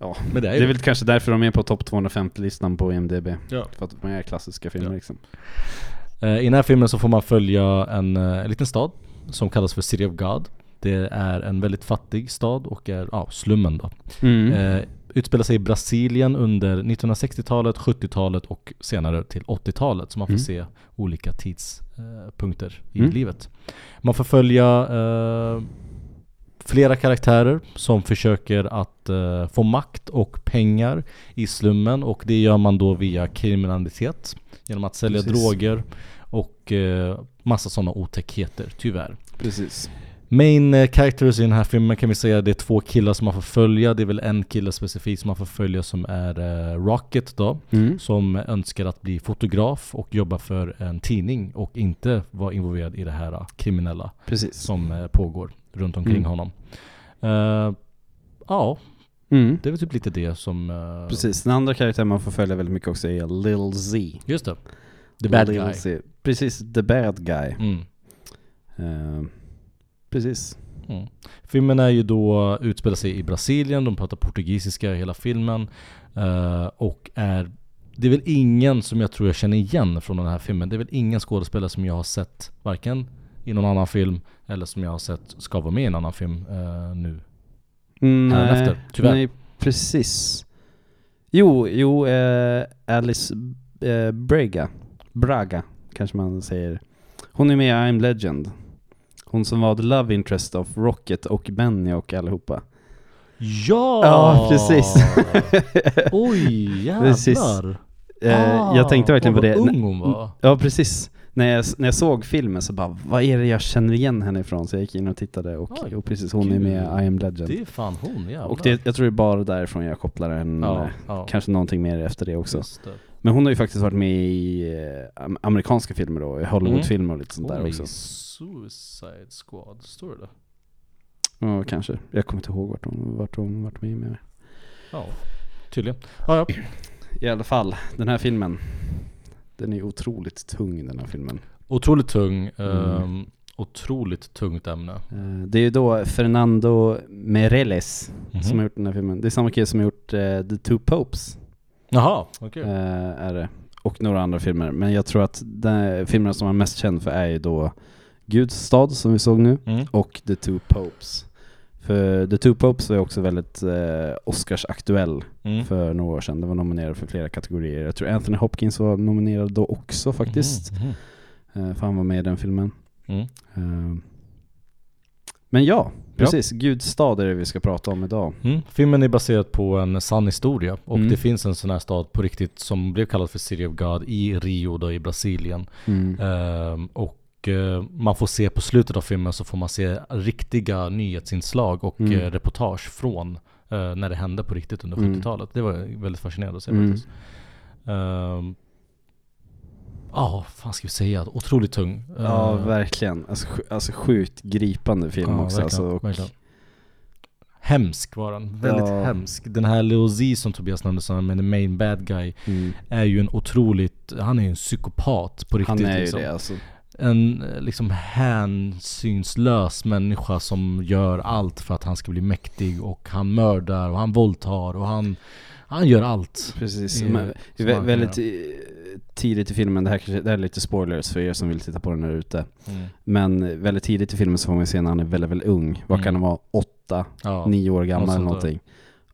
[SPEAKER 1] Ja,
[SPEAKER 3] men det
[SPEAKER 1] det
[SPEAKER 3] är
[SPEAKER 1] är
[SPEAKER 3] ju
[SPEAKER 1] väl kanske därför de är på topp 250-listan på IMDB.
[SPEAKER 3] Ja.
[SPEAKER 1] För att de är klassiska filmer
[SPEAKER 3] Ja.
[SPEAKER 1] liksom.
[SPEAKER 3] Eh, I den här filmen så får man följa en, eh, en liten stad som kallas för City of God. Det är en väldigt fattig stad och är ja, slummen då.
[SPEAKER 1] Mm.
[SPEAKER 3] Eh, utspelar sig i Brasilien under 1960-talet, 70-talet och senare till 80-talet. Så man får se olika tidspunkter i
[SPEAKER 1] Mm.
[SPEAKER 3] livet. Man får följa eh, flera karaktärer som försöker att eh, få makt och pengar i slummen och det gör man då via kriminalitet. Genom att sälja
[SPEAKER 1] Precis.
[SPEAKER 3] droger och eh, massa sådana otäckheter, tyvärr.
[SPEAKER 1] Precis.
[SPEAKER 3] Main eh, characters i den här filmen kan vi säga det är två killar som man får följa. Det är väl en kille specifikt som man får följa som är eh, Rocket då.
[SPEAKER 1] Mm.
[SPEAKER 3] Som önskar att bli fotograf och jobba för en tidning och inte vara involverad i det här eh, kriminella
[SPEAKER 1] Precis.
[SPEAKER 3] som eh, pågår runt omkring
[SPEAKER 1] Mm.
[SPEAKER 3] honom. Eh, ja,
[SPEAKER 1] Mm.
[SPEAKER 3] det är väl typ lite det som... eh,
[SPEAKER 1] Precis. Den andra karaktären man får följa väldigt mycket också är Lil Z.
[SPEAKER 3] Just det. The bad
[SPEAKER 1] Lil
[SPEAKER 3] guy.
[SPEAKER 1] Z. Precis, the bad guy.
[SPEAKER 3] Mm.
[SPEAKER 1] Eh, precis.
[SPEAKER 3] Mm. Filmen är ju då, utspelar sig i Brasilien, de pratar portugisiska i hela filmen. eh, och är, det är väl ingen som jag tror jag känner igen från den här filmen. Det är väl ingen skådespelare som jag har sett, varken i någon annan film eller som jag har sett ska vara med i en annan film eh, nu. efter, tyvärr.
[SPEAKER 1] Mm, nej, precis. Jo, jo, eh, Alice eh, Braga. Braga, kanske man säger. Hon är med i I'm Legend. Hon som var the love interest of Rocket och Benny och allihopa.
[SPEAKER 3] Ja!
[SPEAKER 1] Ja, precis.
[SPEAKER 3] Oj, jävlar.
[SPEAKER 1] Precis. Eh, jag tänkte verkligen
[SPEAKER 3] Ah,
[SPEAKER 1] på det. Mm.
[SPEAKER 3] Vad ung hon var.
[SPEAKER 1] Ja, precis. När jag, när jag såg filmen så bara, vad är det jag känner igen henne ifrån? Så jag gick in och tittade och,
[SPEAKER 3] Oj,
[SPEAKER 1] och precis, hon är med
[SPEAKER 3] gud.
[SPEAKER 1] i I am legend.
[SPEAKER 3] Det är fan hon, jävlar.
[SPEAKER 1] Och det, jag tror det är bara därifrån jag kopplar henne.
[SPEAKER 3] Ja, ja.
[SPEAKER 1] Kanske någonting mer efter det också.
[SPEAKER 3] Just det.
[SPEAKER 1] Men hon har ju faktiskt varit med i eh, am- amerikanska filmer då, i Hollywoodfilmer och lite sånt där
[SPEAKER 3] Hon är
[SPEAKER 1] också.
[SPEAKER 3] i Suicide Squad, står det där?
[SPEAKER 1] Ja, kanske. Jag kommer inte ihåg vart hon, vart hon varit med med.
[SPEAKER 3] Ja, tydligen. Ja, ja.
[SPEAKER 1] I alla fall, den här filmen. Den är otroligt tung den här filmen.
[SPEAKER 3] Otroligt tung. ehm, otroligt tungt ämne.
[SPEAKER 1] Eh, Det är ju då Fernando Meirelles
[SPEAKER 3] Mhm.
[SPEAKER 1] som har gjort den här filmen. Det är samma kille som har gjort eh, The Two Popes.
[SPEAKER 3] Jaha, okej.
[SPEAKER 1] eh, är det. Och några andra filmer. Men jag tror att den filmerna som han är mest känd för är ju då Guds stad som vi såg nu
[SPEAKER 3] Mm.
[SPEAKER 1] och The Two Popes. För The Two Popes var ju också väldigt eh, Oscarsaktuell
[SPEAKER 3] Mm.
[SPEAKER 1] för några år sedan. Den var nominerad för flera kategorier. Jag tror Anthony Hopkins var nominerad då också faktiskt.
[SPEAKER 3] Mhm, mhm.
[SPEAKER 1] Eh, för han var med i den filmen.
[SPEAKER 3] Mm.
[SPEAKER 1] Eh, men ja, precis. Guds stad är det vi ska prata om idag.
[SPEAKER 3] Mm. Filmen är baserad på en sann historia och
[SPEAKER 1] Mm.
[SPEAKER 3] det finns en sån här stad på riktigt som blev kallad för City of God i Rio då i Brasilien. Ehm, och eh, man får se på slutet av filmen så får man se riktiga nyhetsinslag och
[SPEAKER 1] Mm.
[SPEAKER 3] eh, reportage från eh, när det hände på riktigt under
[SPEAKER 1] Mm.
[SPEAKER 3] 70-talet. Det var jag väldigt fascinerande att se
[SPEAKER 1] Mm.
[SPEAKER 3] faktiskt. Ehm, Ja, vad fan ska vi säga? Otroligt tung.
[SPEAKER 1] Ja,
[SPEAKER 3] Eh,
[SPEAKER 1] verkligen. Alltså, sj- alltså sjukt gripande film
[SPEAKER 3] Ja,
[SPEAKER 1] också.
[SPEAKER 3] verkligen,
[SPEAKER 1] Alltså, och,
[SPEAKER 3] verkligen. Hemsk var den. Väldigt
[SPEAKER 1] Ja.
[SPEAKER 3] hemsk. Den här Lil Z som Tobias nämnde, som är den main bad guy,
[SPEAKER 1] mm,
[SPEAKER 3] är ju en otroligt, han är ju en psykopat på riktigt.
[SPEAKER 1] han är ju
[SPEAKER 3] liksom.
[SPEAKER 1] det alltså.
[SPEAKER 3] En eh, liksom hänsynslös människa som gör allt för att han ska bli mäktig och han mördar och han våldtar och han, han gör allt.
[SPEAKER 1] Precis.
[SPEAKER 3] Det är
[SPEAKER 1] Men,
[SPEAKER 3] ju
[SPEAKER 1] vä-
[SPEAKER 3] smakare.
[SPEAKER 1] väldigt eh, tidigt i filmen, det här, kanske, det här är lite spoilers för er som vill titta på den här ute.
[SPEAKER 3] Mm.
[SPEAKER 1] Men eh, väldigt tidigt i filmen så får man se när han är väldigt, väldigt ung. Vad
[SPEAKER 3] Mm.
[SPEAKER 1] kan han vara? Åtta,
[SPEAKER 3] Ja.
[SPEAKER 1] nio år gammal
[SPEAKER 3] något
[SPEAKER 1] eller
[SPEAKER 3] sånt där.
[SPEAKER 1] någonting.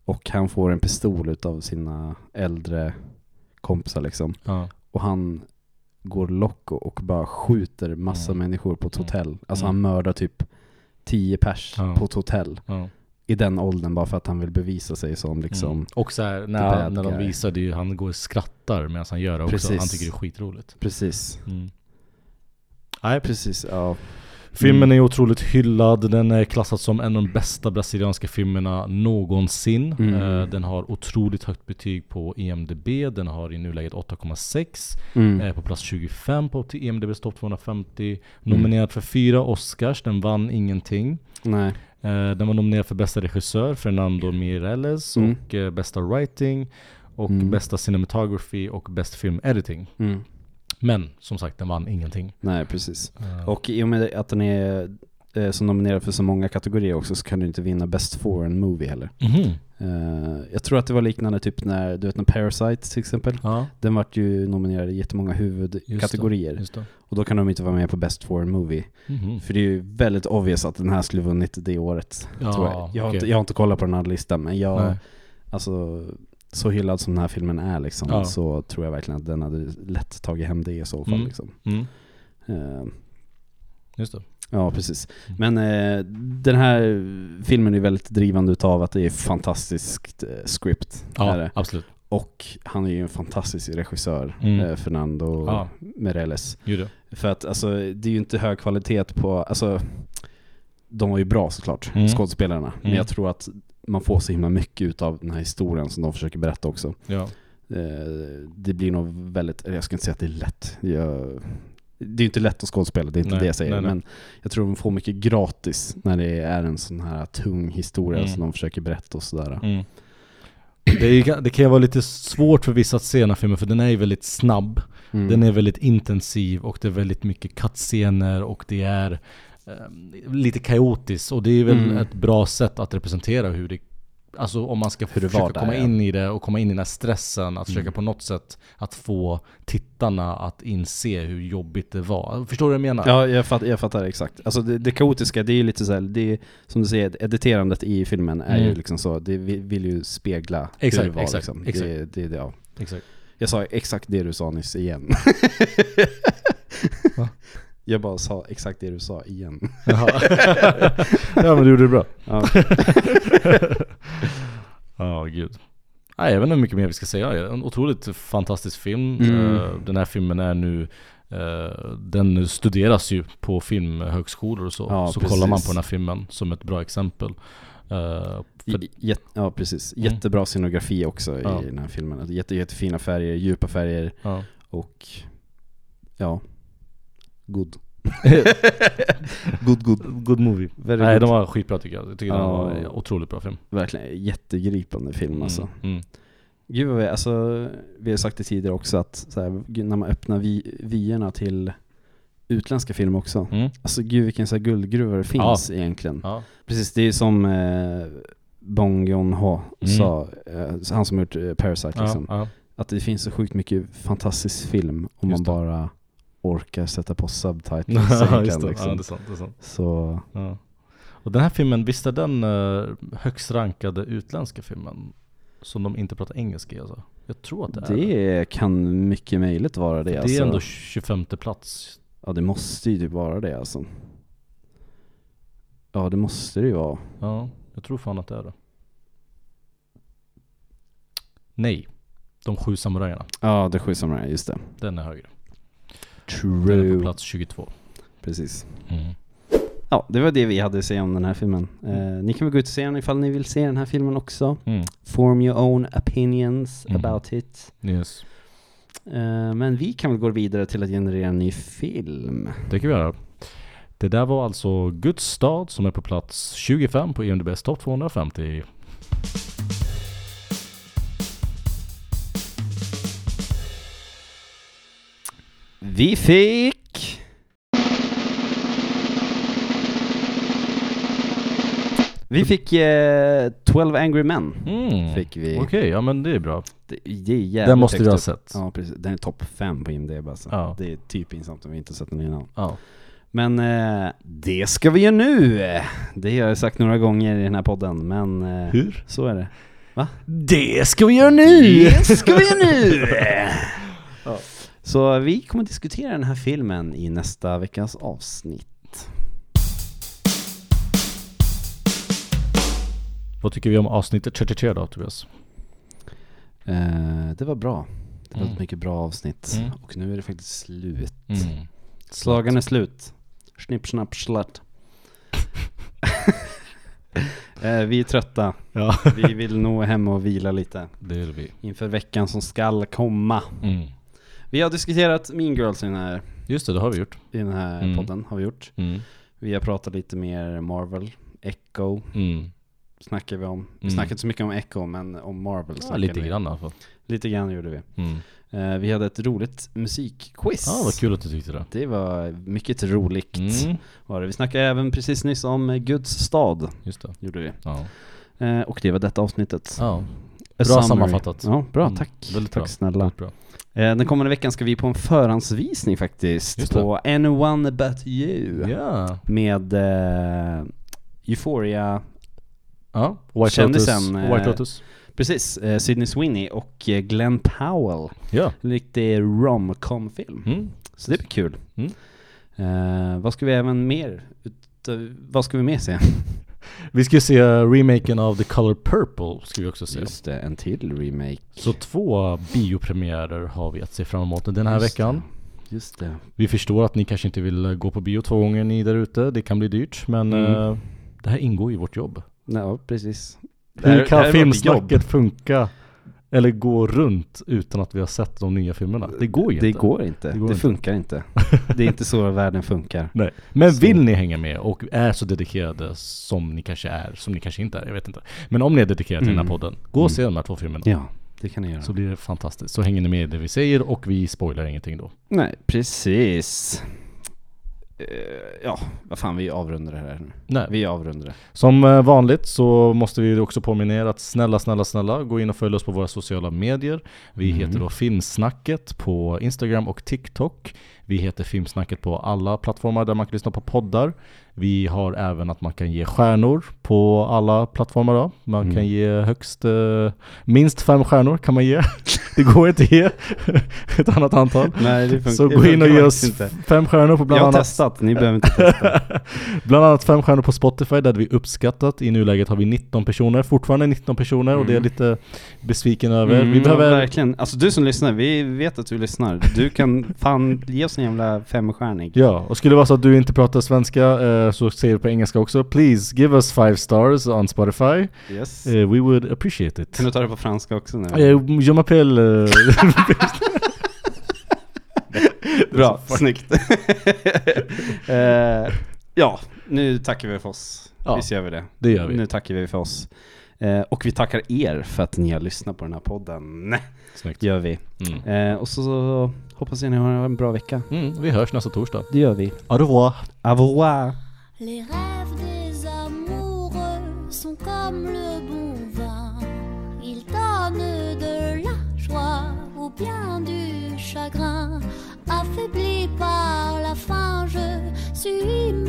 [SPEAKER 1] Och han får en pistol utav sina äldre kompisar liksom.
[SPEAKER 3] Ja.
[SPEAKER 1] Och han går loco och bara skjuter massa
[SPEAKER 3] Mm.
[SPEAKER 1] människor på ett
[SPEAKER 3] Mm.
[SPEAKER 1] hotell. Alltså
[SPEAKER 3] Mm.
[SPEAKER 1] han mördar typ tio pers
[SPEAKER 3] Ja.
[SPEAKER 1] på ett hotell.
[SPEAKER 3] Ja.
[SPEAKER 1] I den åldern bara för att han vill bevisa sig som liksom
[SPEAKER 3] Mm. Och så här, när,
[SPEAKER 1] The
[SPEAKER 3] han- när
[SPEAKER 1] bad
[SPEAKER 3] de
[SPEAKER 1] guy.
[SPEAKER 3] visar det, är ju- han går och skrattar medan han gör det också.
[SPEAKER 1] Precis.
[SPEAKER 3] Han tycker det är skitroligt.
[SPEAKER 1] Precis.
[SPEAKER 3] Mm. Nej,
[SPEAKER 1] Precis, ja.
[SPEAKER 3] Mm. Filmen är otroligt hyllad, den är klassad som en av de bästa brasilianska filmerna någonsin.
[SPEAKER 1] Mm.
[SPEAKER 3] Eh, Den har otroligt högt betyg på E IMDB, den har i nuläget 8,6.
[SPEAKER 1] Mm.
[SPEAKER 3] eh, På plats 25 på IMDBs topp 250.
[SPEAKER 1] Mm.
[SPEAKER 3] Nominerad för fyra Oscars, den vann ingenting.
[SPEAKER 1] Nej.
[SPEAKER 3] Eh, Den var nominerad för bästa regissör, Fernando Mireles,
[SPEAKER 1] Mm.
[SPEAKER 3] och eh, bästa writing, och
[SPEAKER 1] Mm.
[SPEAKER 3] bästa cinematography och bäst film editing.
[SPEAKER 1] Mm.
[SPEAKER 3] Men som sagt, den vann ingenting.
[SPEAKER 1] Nej, precis.
[SPEAKER 3] Eh,
[SPEAKER 1] Och i och med att den är eh, så nominerad för så många kategorier också så kan du inte vinna Best Foreign Movie heller.
[SPEAKER 3] mhm.
[SPEAKER 1] Eh, jag tror att det var liknande typ när, du vet när Parasite till exempel,
[SPEAKER 3] Ja,
[SPEAKER 1] den vart ju nominerad i jättemånga huvudkategorier.
[SPEAKER 3] just det.
[SPEAKER 1] Och då kan de inte vara med på Best Foreign Movie.
[SPEAKER 3] Mhm.
[SPEAKER 1] För det är ju väldigt obvious att den här skulle vunnit det året.
[SPEAKER 3] Ja,
[SPEAKER 1] tror jag. Jag, har
[SPEAKER 3] okej.
[SPEAKER 1] inte, jag har inte kollat på den här listan men jag,
[SPEAKER 3] Nej.
[SPEAKER 1] alltså så hyllad som den här filmen är liksom,
[SPEAKER 3] Ja.
[SPEAKER 1] så tror jag verkligen att den hade lätt tagit hem det i så fall.
[SPEAKER 3] Mm.
[SPEAKER 1] Liksom.
[SPEAKER 3] Mm.
[SPEAKER 1] Eh,
[SPEAKER 3] Just det.
[SPEAKER 1] Ja, precis.
[SPEAKER 3] Mm.
[SPEAKER 1] Men eh, den här filmen är väldigt drivande utav att det är ett fantastiskt eh, script.
[SPEAKER 3] Ja,
[SPEAKER 1] Är det.
[SPEAKER 3] absolut.
[SPEAKER 1] Och han är ju en fantastisk regissör,
[SPEAKER 3] Mm.
[SPEAKER 1] eh, Fernando
[SPEAKER 3] Ja.
[SPEAKER 1] Mireles.
[SPEAKER 3] Gör det.
[SPEAKER 1] För att alltså, det är ju inte hög kvalitet på, alltså de var ju bra såklart,
[SPEAKER 3] Mm.
[SPEAKER 1] skådespelarna. Men
[SPEAKER 3] Mm.
[SPEAKER 1] jag tror att man får så himla mycket utav den här historien som de försöker berätta också.
[SPEAKER 3] Ja.
[SPEAKER 1] Eh, det blir nog väldigt, eller jag ska inte säga att det är lätt. Jag, det är ju inte lätt att skådespela, det är inte
[SPEAKER 3] Nej,
[SPEAKER 1] det jag säger.
[SPEAKER 3] nej, nej.
[SPEAKER 1] Men jag tror de får mycket gratis när det är en sån här tung historia
[SPEAKER 3] Mm.
[SPEAKER 1] som de försöker berätta och sådär.
[SPEAKER 3] Mm. Det, är, ju ga- det kan ju vara lite svårt för vissa att se den här filmen för den är ju väldigt snabb.
[SPEAKER 1] Mm.
[SPEAKER 3] Den är väldigt intensiv och det är väldigt mycket kattscener och det är eh, lite kaotiskt. Och det är väl
[SPEAKER 1] Mm.
[SPEAKER 3] ett bra sätt att representera hur det Alltså om man ska
[SPEAKER 1] Hur det
[SPEAKER 3] försöka
[SPEAKER 1] var där,
[SPEAKER 3] komma
[SPEAKER 1] ja. Mm.
[SPEAKER 3] in i det och komma in i den här stressen att försöka på något sätt att få tittarna att inse hur jobbigt det var. Förstår du vad jag menar?
[SPEAKER 1] Ja, jag fattar, jag fattar exakt. Alltså det, det kaotiska, det är ju lite såhär, det är, som du säger, editerandet i filmen är
[SPEAKER 3] Mm.
[SPEAKER 1] ju liksom så, det vi- vill ju spegla
[SPEAKER 3] Exakt,
[SPEAKER 1] hur det var
[SPEAKER 3] exakt,
[SPEAKER 1] liksom.
[SPEAKER 3] exakt.
[SPEAKER 1] Det, det, det, ja.
[SPEAKER 3] Exakt.
[SPEAKER 1] Jag sa exakt det du sa nyss igen.
[SPEAKER 3] Va?
[SPEAKER 1] Jag bara sa exakt det du sa igen.
[SPEAKER 3] Jaha. ja men du gjorde det bra.
[SPEAKER 1] Ja.
[SPEAKER 3] Ja, gud. Nej, jag vet inte hur mycket mer vi ska säga. Det är En otroligt fantastisk film.
[SPEAKER 1] Mm.
[SPEAKER 3] Eh, Den här filmen är nu eh, den studeras ju på filmhögskolor och så.
[SPEAKER 1] Ja,
[SPEAKER 3] så
[SPEAKER 1] precis.
[SPEAKER 3] kollar man på den här filmen som ett bra exempel. Eh, För,
[SPEAKER 1] J- jät- ja, precis.
[SPEAKER 3] Mm.
[SPEAKER 1] Jättebra scenografi också
[SPEAKER 3] Ja.
[SPEAKER 1] i den här filmen. Alltså, Jätte, jättefina färger, djupa färger
[SPEAKER 3] ja.
[SPEAKER 1] och ja, good. good, good.
[SPEAKER 3] Good movie.
[SPEAKER 1] Very
[SPEAKER 3] Nej,
[SPEAKER 1] good.
[SPEAKER 3] de var skitbra tycker jag. Jag tycker den
[SPEAKER 1] Ja.
[SPEAKER 3] var en otroligt bra film.
[SPEAKER 1] Verkligen jättegripande film alltså.
[SPEAKER 3] Mm. Mm.
[SPEAKER 1] Gud vad vi, alltså, vi har sagt det tidigare också att så här, gud, när man öppnar vi, vyerna till utländska filmer också.
[SPEAKER 3] Mm.
[SPEAKER 1] Alltså gud vilken så här, guldgruva det finns egentligen.
[SPEAKER 3] Ja.
[SPEAKER 1] Precis, det är som eh, Bong Joon-ho
[SPEAKER 3] Mm.
[SPEAKER 1] sa, eh, han som gjort eh, Parasite liksom.
[SPEAKER 3] Ja, ja.
[SPEAKER 1] att det finns så sjukt mycket fantastisk film om
[SPEAKER 3] Just
[SPEAKER 1] man
[SPEAKER 3] det.
[SPEAKER 1] bara orkar sätta på subtitles så
[SPEAKER 3] Ja,
[SPEAKER 1] man
[SPEAKER 3] just
[SPEAKER 1] kan
[SPEAKER 3] det. Ja,
[SPEAKER 1] liksom.
[SPEAKER 3] det är sant. Det är sant.
[SPEAKER 1] Så
[SPEAKER 3] Ja. Och den här filmen, visst är den eh, högst rankade utländska filmen? Som de inte pratar engelska i alltså? Jag tror att det, är
[SPEAKER 1] det kan mycket möjligt vara det,
[SPEAKER 3] Det är
[SPEAKER 1] alltså.
[SPEAKER 3] ändå 25 plats.
[SPEAKER 1] Ja det måste ju typ vara det alltså. Ja det måste det ju vara.
[SPEAKER 3] Ja, jag tror fan att det är det. Nej. De sju samurajerna.
[SPEAKER 1] Ja det sju samurajer, just det.
[SPEAKER 3] Den är högre. Den är på Mm.
[SPEAKER 1] True.
[SPEAKER 3] plats 22.
[SPEAKER 1] Precis. Ja, det var det vi hade att säga om den här filmen. Eh, ni kan väl gå ut och se den ifall ni vill se den här filmen också.
[SPEAKER 3] Mm.
[SPEAKER 1] Form your own opinions
[SPEAKER 3] Mm.
[SPEAKER 1] about it.
[SPEAKER 3] Yes.
[SPEAKER 1] Eh, men vi kan väl gå vidare till att generera en ny film.
[SPEAKER 3] Det kan vi göra. Det där var alltså Guds stad som är på plats 25 på IMDB's topp 250.
[SPEAKER 1] Vi fick... Vi fick eh, 12 Angry Men.
[SPEAKER 3] Mm.
[SPEAKER 1] Fick vi.
[SPEAKER 3] Okej, ja men det är bra.
[SPEAKER 1] Det, det är jävligt
[SPEAKER 3] Den måste
[SPEAKER 1] högt
[SPEAKER 3] vi ha
[SPEAKER 1] upp.
[SPEAKER 3] sett. Ja.
[SPEAKER 1] Ja precis, den är topp 5 på IMDB alltså.
[SPEAKER 3] Ja.
[SPEAKER 1] Det är typ pinsamt om vi inte sett den innan. Men eh, det ska vi göra nu! Det har jag sagt några gånger i den här podden, men eh,
[SPEAKER 3] Hur?
[SPEAKER 1] så är det.
[SPEAKER 3] Det ska vi göra nu!
[SPEAKER 1] Det ska vi göra nu! Så vi kommer diskutera den här filmen i nästa veckas avsnitt.
[SPEAKER 3] Vad tycker vi om avsnittet 33 då Tobias?
[SPEAKER 1] Eh, det var bra. Det var
[SPEAKER 3] Mm.
[SPEAKER 1] ett mycket bra avsnitt.
[SPEAKER 3] Mm.
[SPEAKER 1] Och nu är det faktiskt slut. Slagen är slut. Snipp, snapp, slatt. eh, vi är trötta.
[SPEAKER 3] Ja,
[SPEAKER 1] Vi vill nå hem och vila lite
[SPEAKER 3] det är vi.
[SPEAKER 1] inför veckan som skall komma.
[SPEAKER 3] Mm.
[SPEAKER 1] Vi har diskuterat Mean Girls i den här,
[SPEAKER 3] Just det, det har vi gjort.
[SPEAKER 1] i den här
[SPEAKER 3] Mm.
[SPEAKER 1] podden, har vi gjort.
[SPEAKER 3] Mm.
[SPEAKER 1] Vi har pratat lite mer Marvel, Echo
[SPEAKER 3] Mm.
[SPEAKER 1] snackar vi om. Vi
[SPEAKER 3] Mm.
[SPEAKER 1] snackade inte så mycket om Echo, men om Marvel
[SPEAKER 3] Ja,
[SPEAKER 1] snackade
[SPEAKER 3] lite
[SPEAKER 1] vi.
[SPEAKER 3] grann i alla fall.
[SPEAKER 1] Lite grann gjorde vi.
[SPEAKER 3] Mm.
[SPEAKER 1] Eh, vi hade ett roligt musikquiz.
[SPEAKER 3] Ah, vad kul att du tyckte det.
[SPEAKER 1] Det var mycket roligt.
[SPEAKER 3] Mm.
[SPEAKER 1] Var det. Vi snackade även precis nyss om eh, Guds stad,
[SPEAKER 3] Just det.
[SPEAKER 1] gjorde vi.
[SPEAKER 3] Ja.
[SPEAKER 1] Eh, och det var detta avsnittet. A
[SPEAKER 3] ja. Bra
[SPEAKER 1] summary.
[SPEAKER 3] sammanfattat.
[SPEAKER 1] Ja, bra,
[SPEAKER 3] Mm,
[SPEAKER 1] tack.
[SPEAKER 3] väldigt
[SPEAKER 1] tack
[SPEAKER 3] bra.
[SPEAKER 1] snälla.
[SPEAKER 3] Bra.
[SPEAKER 1] Eh, den kommande veckan ska vi på en förhandsvisning faktiskt,
[SPEAKER 3] Just det.
[SPEAKER 1] på Anyone But You.
[SPEAKER 3] Ja.
[SPEAKER 1] med eh, Euphoria,
[SPEAKER 3] ja. White
[SPEAKER 1] Kändisen,
[SPEAKER 3] Lotus.
[SPEAKER 1] eh,
[SPEAKER 3] White Lotus.
[SPEAKER 1] precis, eh, Sydney Sweeney och eh, Glenn Powell.
[SPEAKER 3] Ja.
[SPEAKER 1] En riktig romcom-film.
[SPEAKER 3] Mm.
[SPEAKER 1] Så det blir kul.
[SPEAKER 3] Mm.
[SPEAKER 1] Eh, vad ska vi även mer, ut- eh, vad ska vi mer se?
[SPEAKER 3] Vi ska ju se eh, remaken av The Color Purple ska vi också se.
[SPEAKER 1] Just det, en till remake.
[SPEAKER 3] Så två biopremiärer har vi att se fram emot den här
[SPEAKER 1] Just
[SPEAKER 3] veckan.
[SPEAKER 1] det. Just det.
[SPEAKER 3] Vi förstår att ni kanske inte vill eh, gå på bio två gånger ni där ute. Det kan bli dyrt men
[SPEAKER 1] Mm.
[SPEAKER 3] eh, det här ingår i vårt jobb.
[SPEAKER 1] Ja, precis. Det här-
[SPEAKER 3] Hur
[SPEAKER 1] det här är
[SPEAKER 3] kan
[SPEAKER 1] vårt jobb.
[SPEAKER 3] filmsnacket funka eller gå runt utan att vi har sett de nya filmerna? Det går ju
[SPEAKER 1] Det
[SPEAKER 3] inte.
[SPEAKER 1] går inte. Det,
[SPEAKER 3] Det går inte.
[SPEAKER 1] funkar inte. Det är inte så världen funkar.
[SPEAKER 3] Nej. Men
[SPEAKER 1] Så-
[SPEAKER 3] vill ni hänga med och är så dedikerade som ni kanske är, som ni kanske inte är, jag vet inte. Men om ni är dedikerade till den
[SPEAKER 1] Mm.
[SPEAKER 3] här podden, gå och se de här två filmerna.
[SPEAKER 1] Ja, det kan ni göra.
[SPEAKER 3] Så blir det fantastiskt. Så hänger ni med i det vi säger och vi spoilar ingenting då.
[SPEAKER 1] Nej, precis. Eh, ja, vad fan vi avrundar det här nu.
[SPEAKER 3] Nej.
[SPEAKER 1] Vi avrundar det.
[SPEAKER 3] Som eh, vanligt så måste vi också påminna er att snälla, snälla, snälla gå in och följ oss på våra sociala medier. Vi heter då Filmsnacket på Instagram och TikTok. Vi heter Filmsnacket på alla plattformar där man kan lyssna på poddar. Vi har även att man kan ge stjärnor på alla plattformar. Då. Man kan ge högst, eh, minst fem stjärnor kan man ge. Det går inte att ge ett annat antal.
[SPEAKER 1] Nej, det
[SPEAKER 3] Så gå in och ge oss fem stjärnor på bland
[SPEAKER 1] Jag har
[SPEAKER 3] annat
[SPEAKER 1] testat, ni behöver inte testa.
[SPEAKER 3] Bland annat fem stjärnor på Spotify, där hade vi uppskattat. I nuläget har vi 19 personer, fortfarande 19 personer och det är jag lite besviken över. vi behöver...
[SPEAKER 1] Mm, Verkligen. Alltså du som lyssnar, vi vet att du lyssnar. Du kan fan ge oss en jävla femstjärnig.
[SPEAKER 3] Ja, och skulle det vara så att du inte pratar svenska eh, så säger du på engelska också. Please give us five stars on Spotify.
[SPEAKER 1] Yes.
[SPEAKER 3] Eh, we would appreciate it.
[SPEAKER 1] Kan du ta det på franska också nu?
[SPEAKER 3] Eh, je m'appelle... eh,
[SPEAKER 1] Bra, snyggt. Eh, ja, nu tackar vi för oss.
[SPEAKER 3] Ja,
[SPEAKER 1] Visst gör vi det?
[SPEAKER 3] det gör vi.
[SPEAKER 1] Nu tackar vi för oss. Eh, och vi tackar er för att ni har lyssnat på den här podden.
[SPEAKER 3] Snyggt.
[SPEAKER 1] gör vi. Eh, och så, så hoppas jag ni har en bra vecka.
[SPEAKER 3] Mm, vi hörs nästa torsdag.
[SPEAKER 1] Det gör vi.
[SPEAKER 3] Au revoir.
[SPEAKER 1] Au revoir!
[SPEAKER 5] Les rêves des amoureux sont comme le bon vin. Ils donnent de la joie ou bien du chagrin. Affaibli par la faim, je suis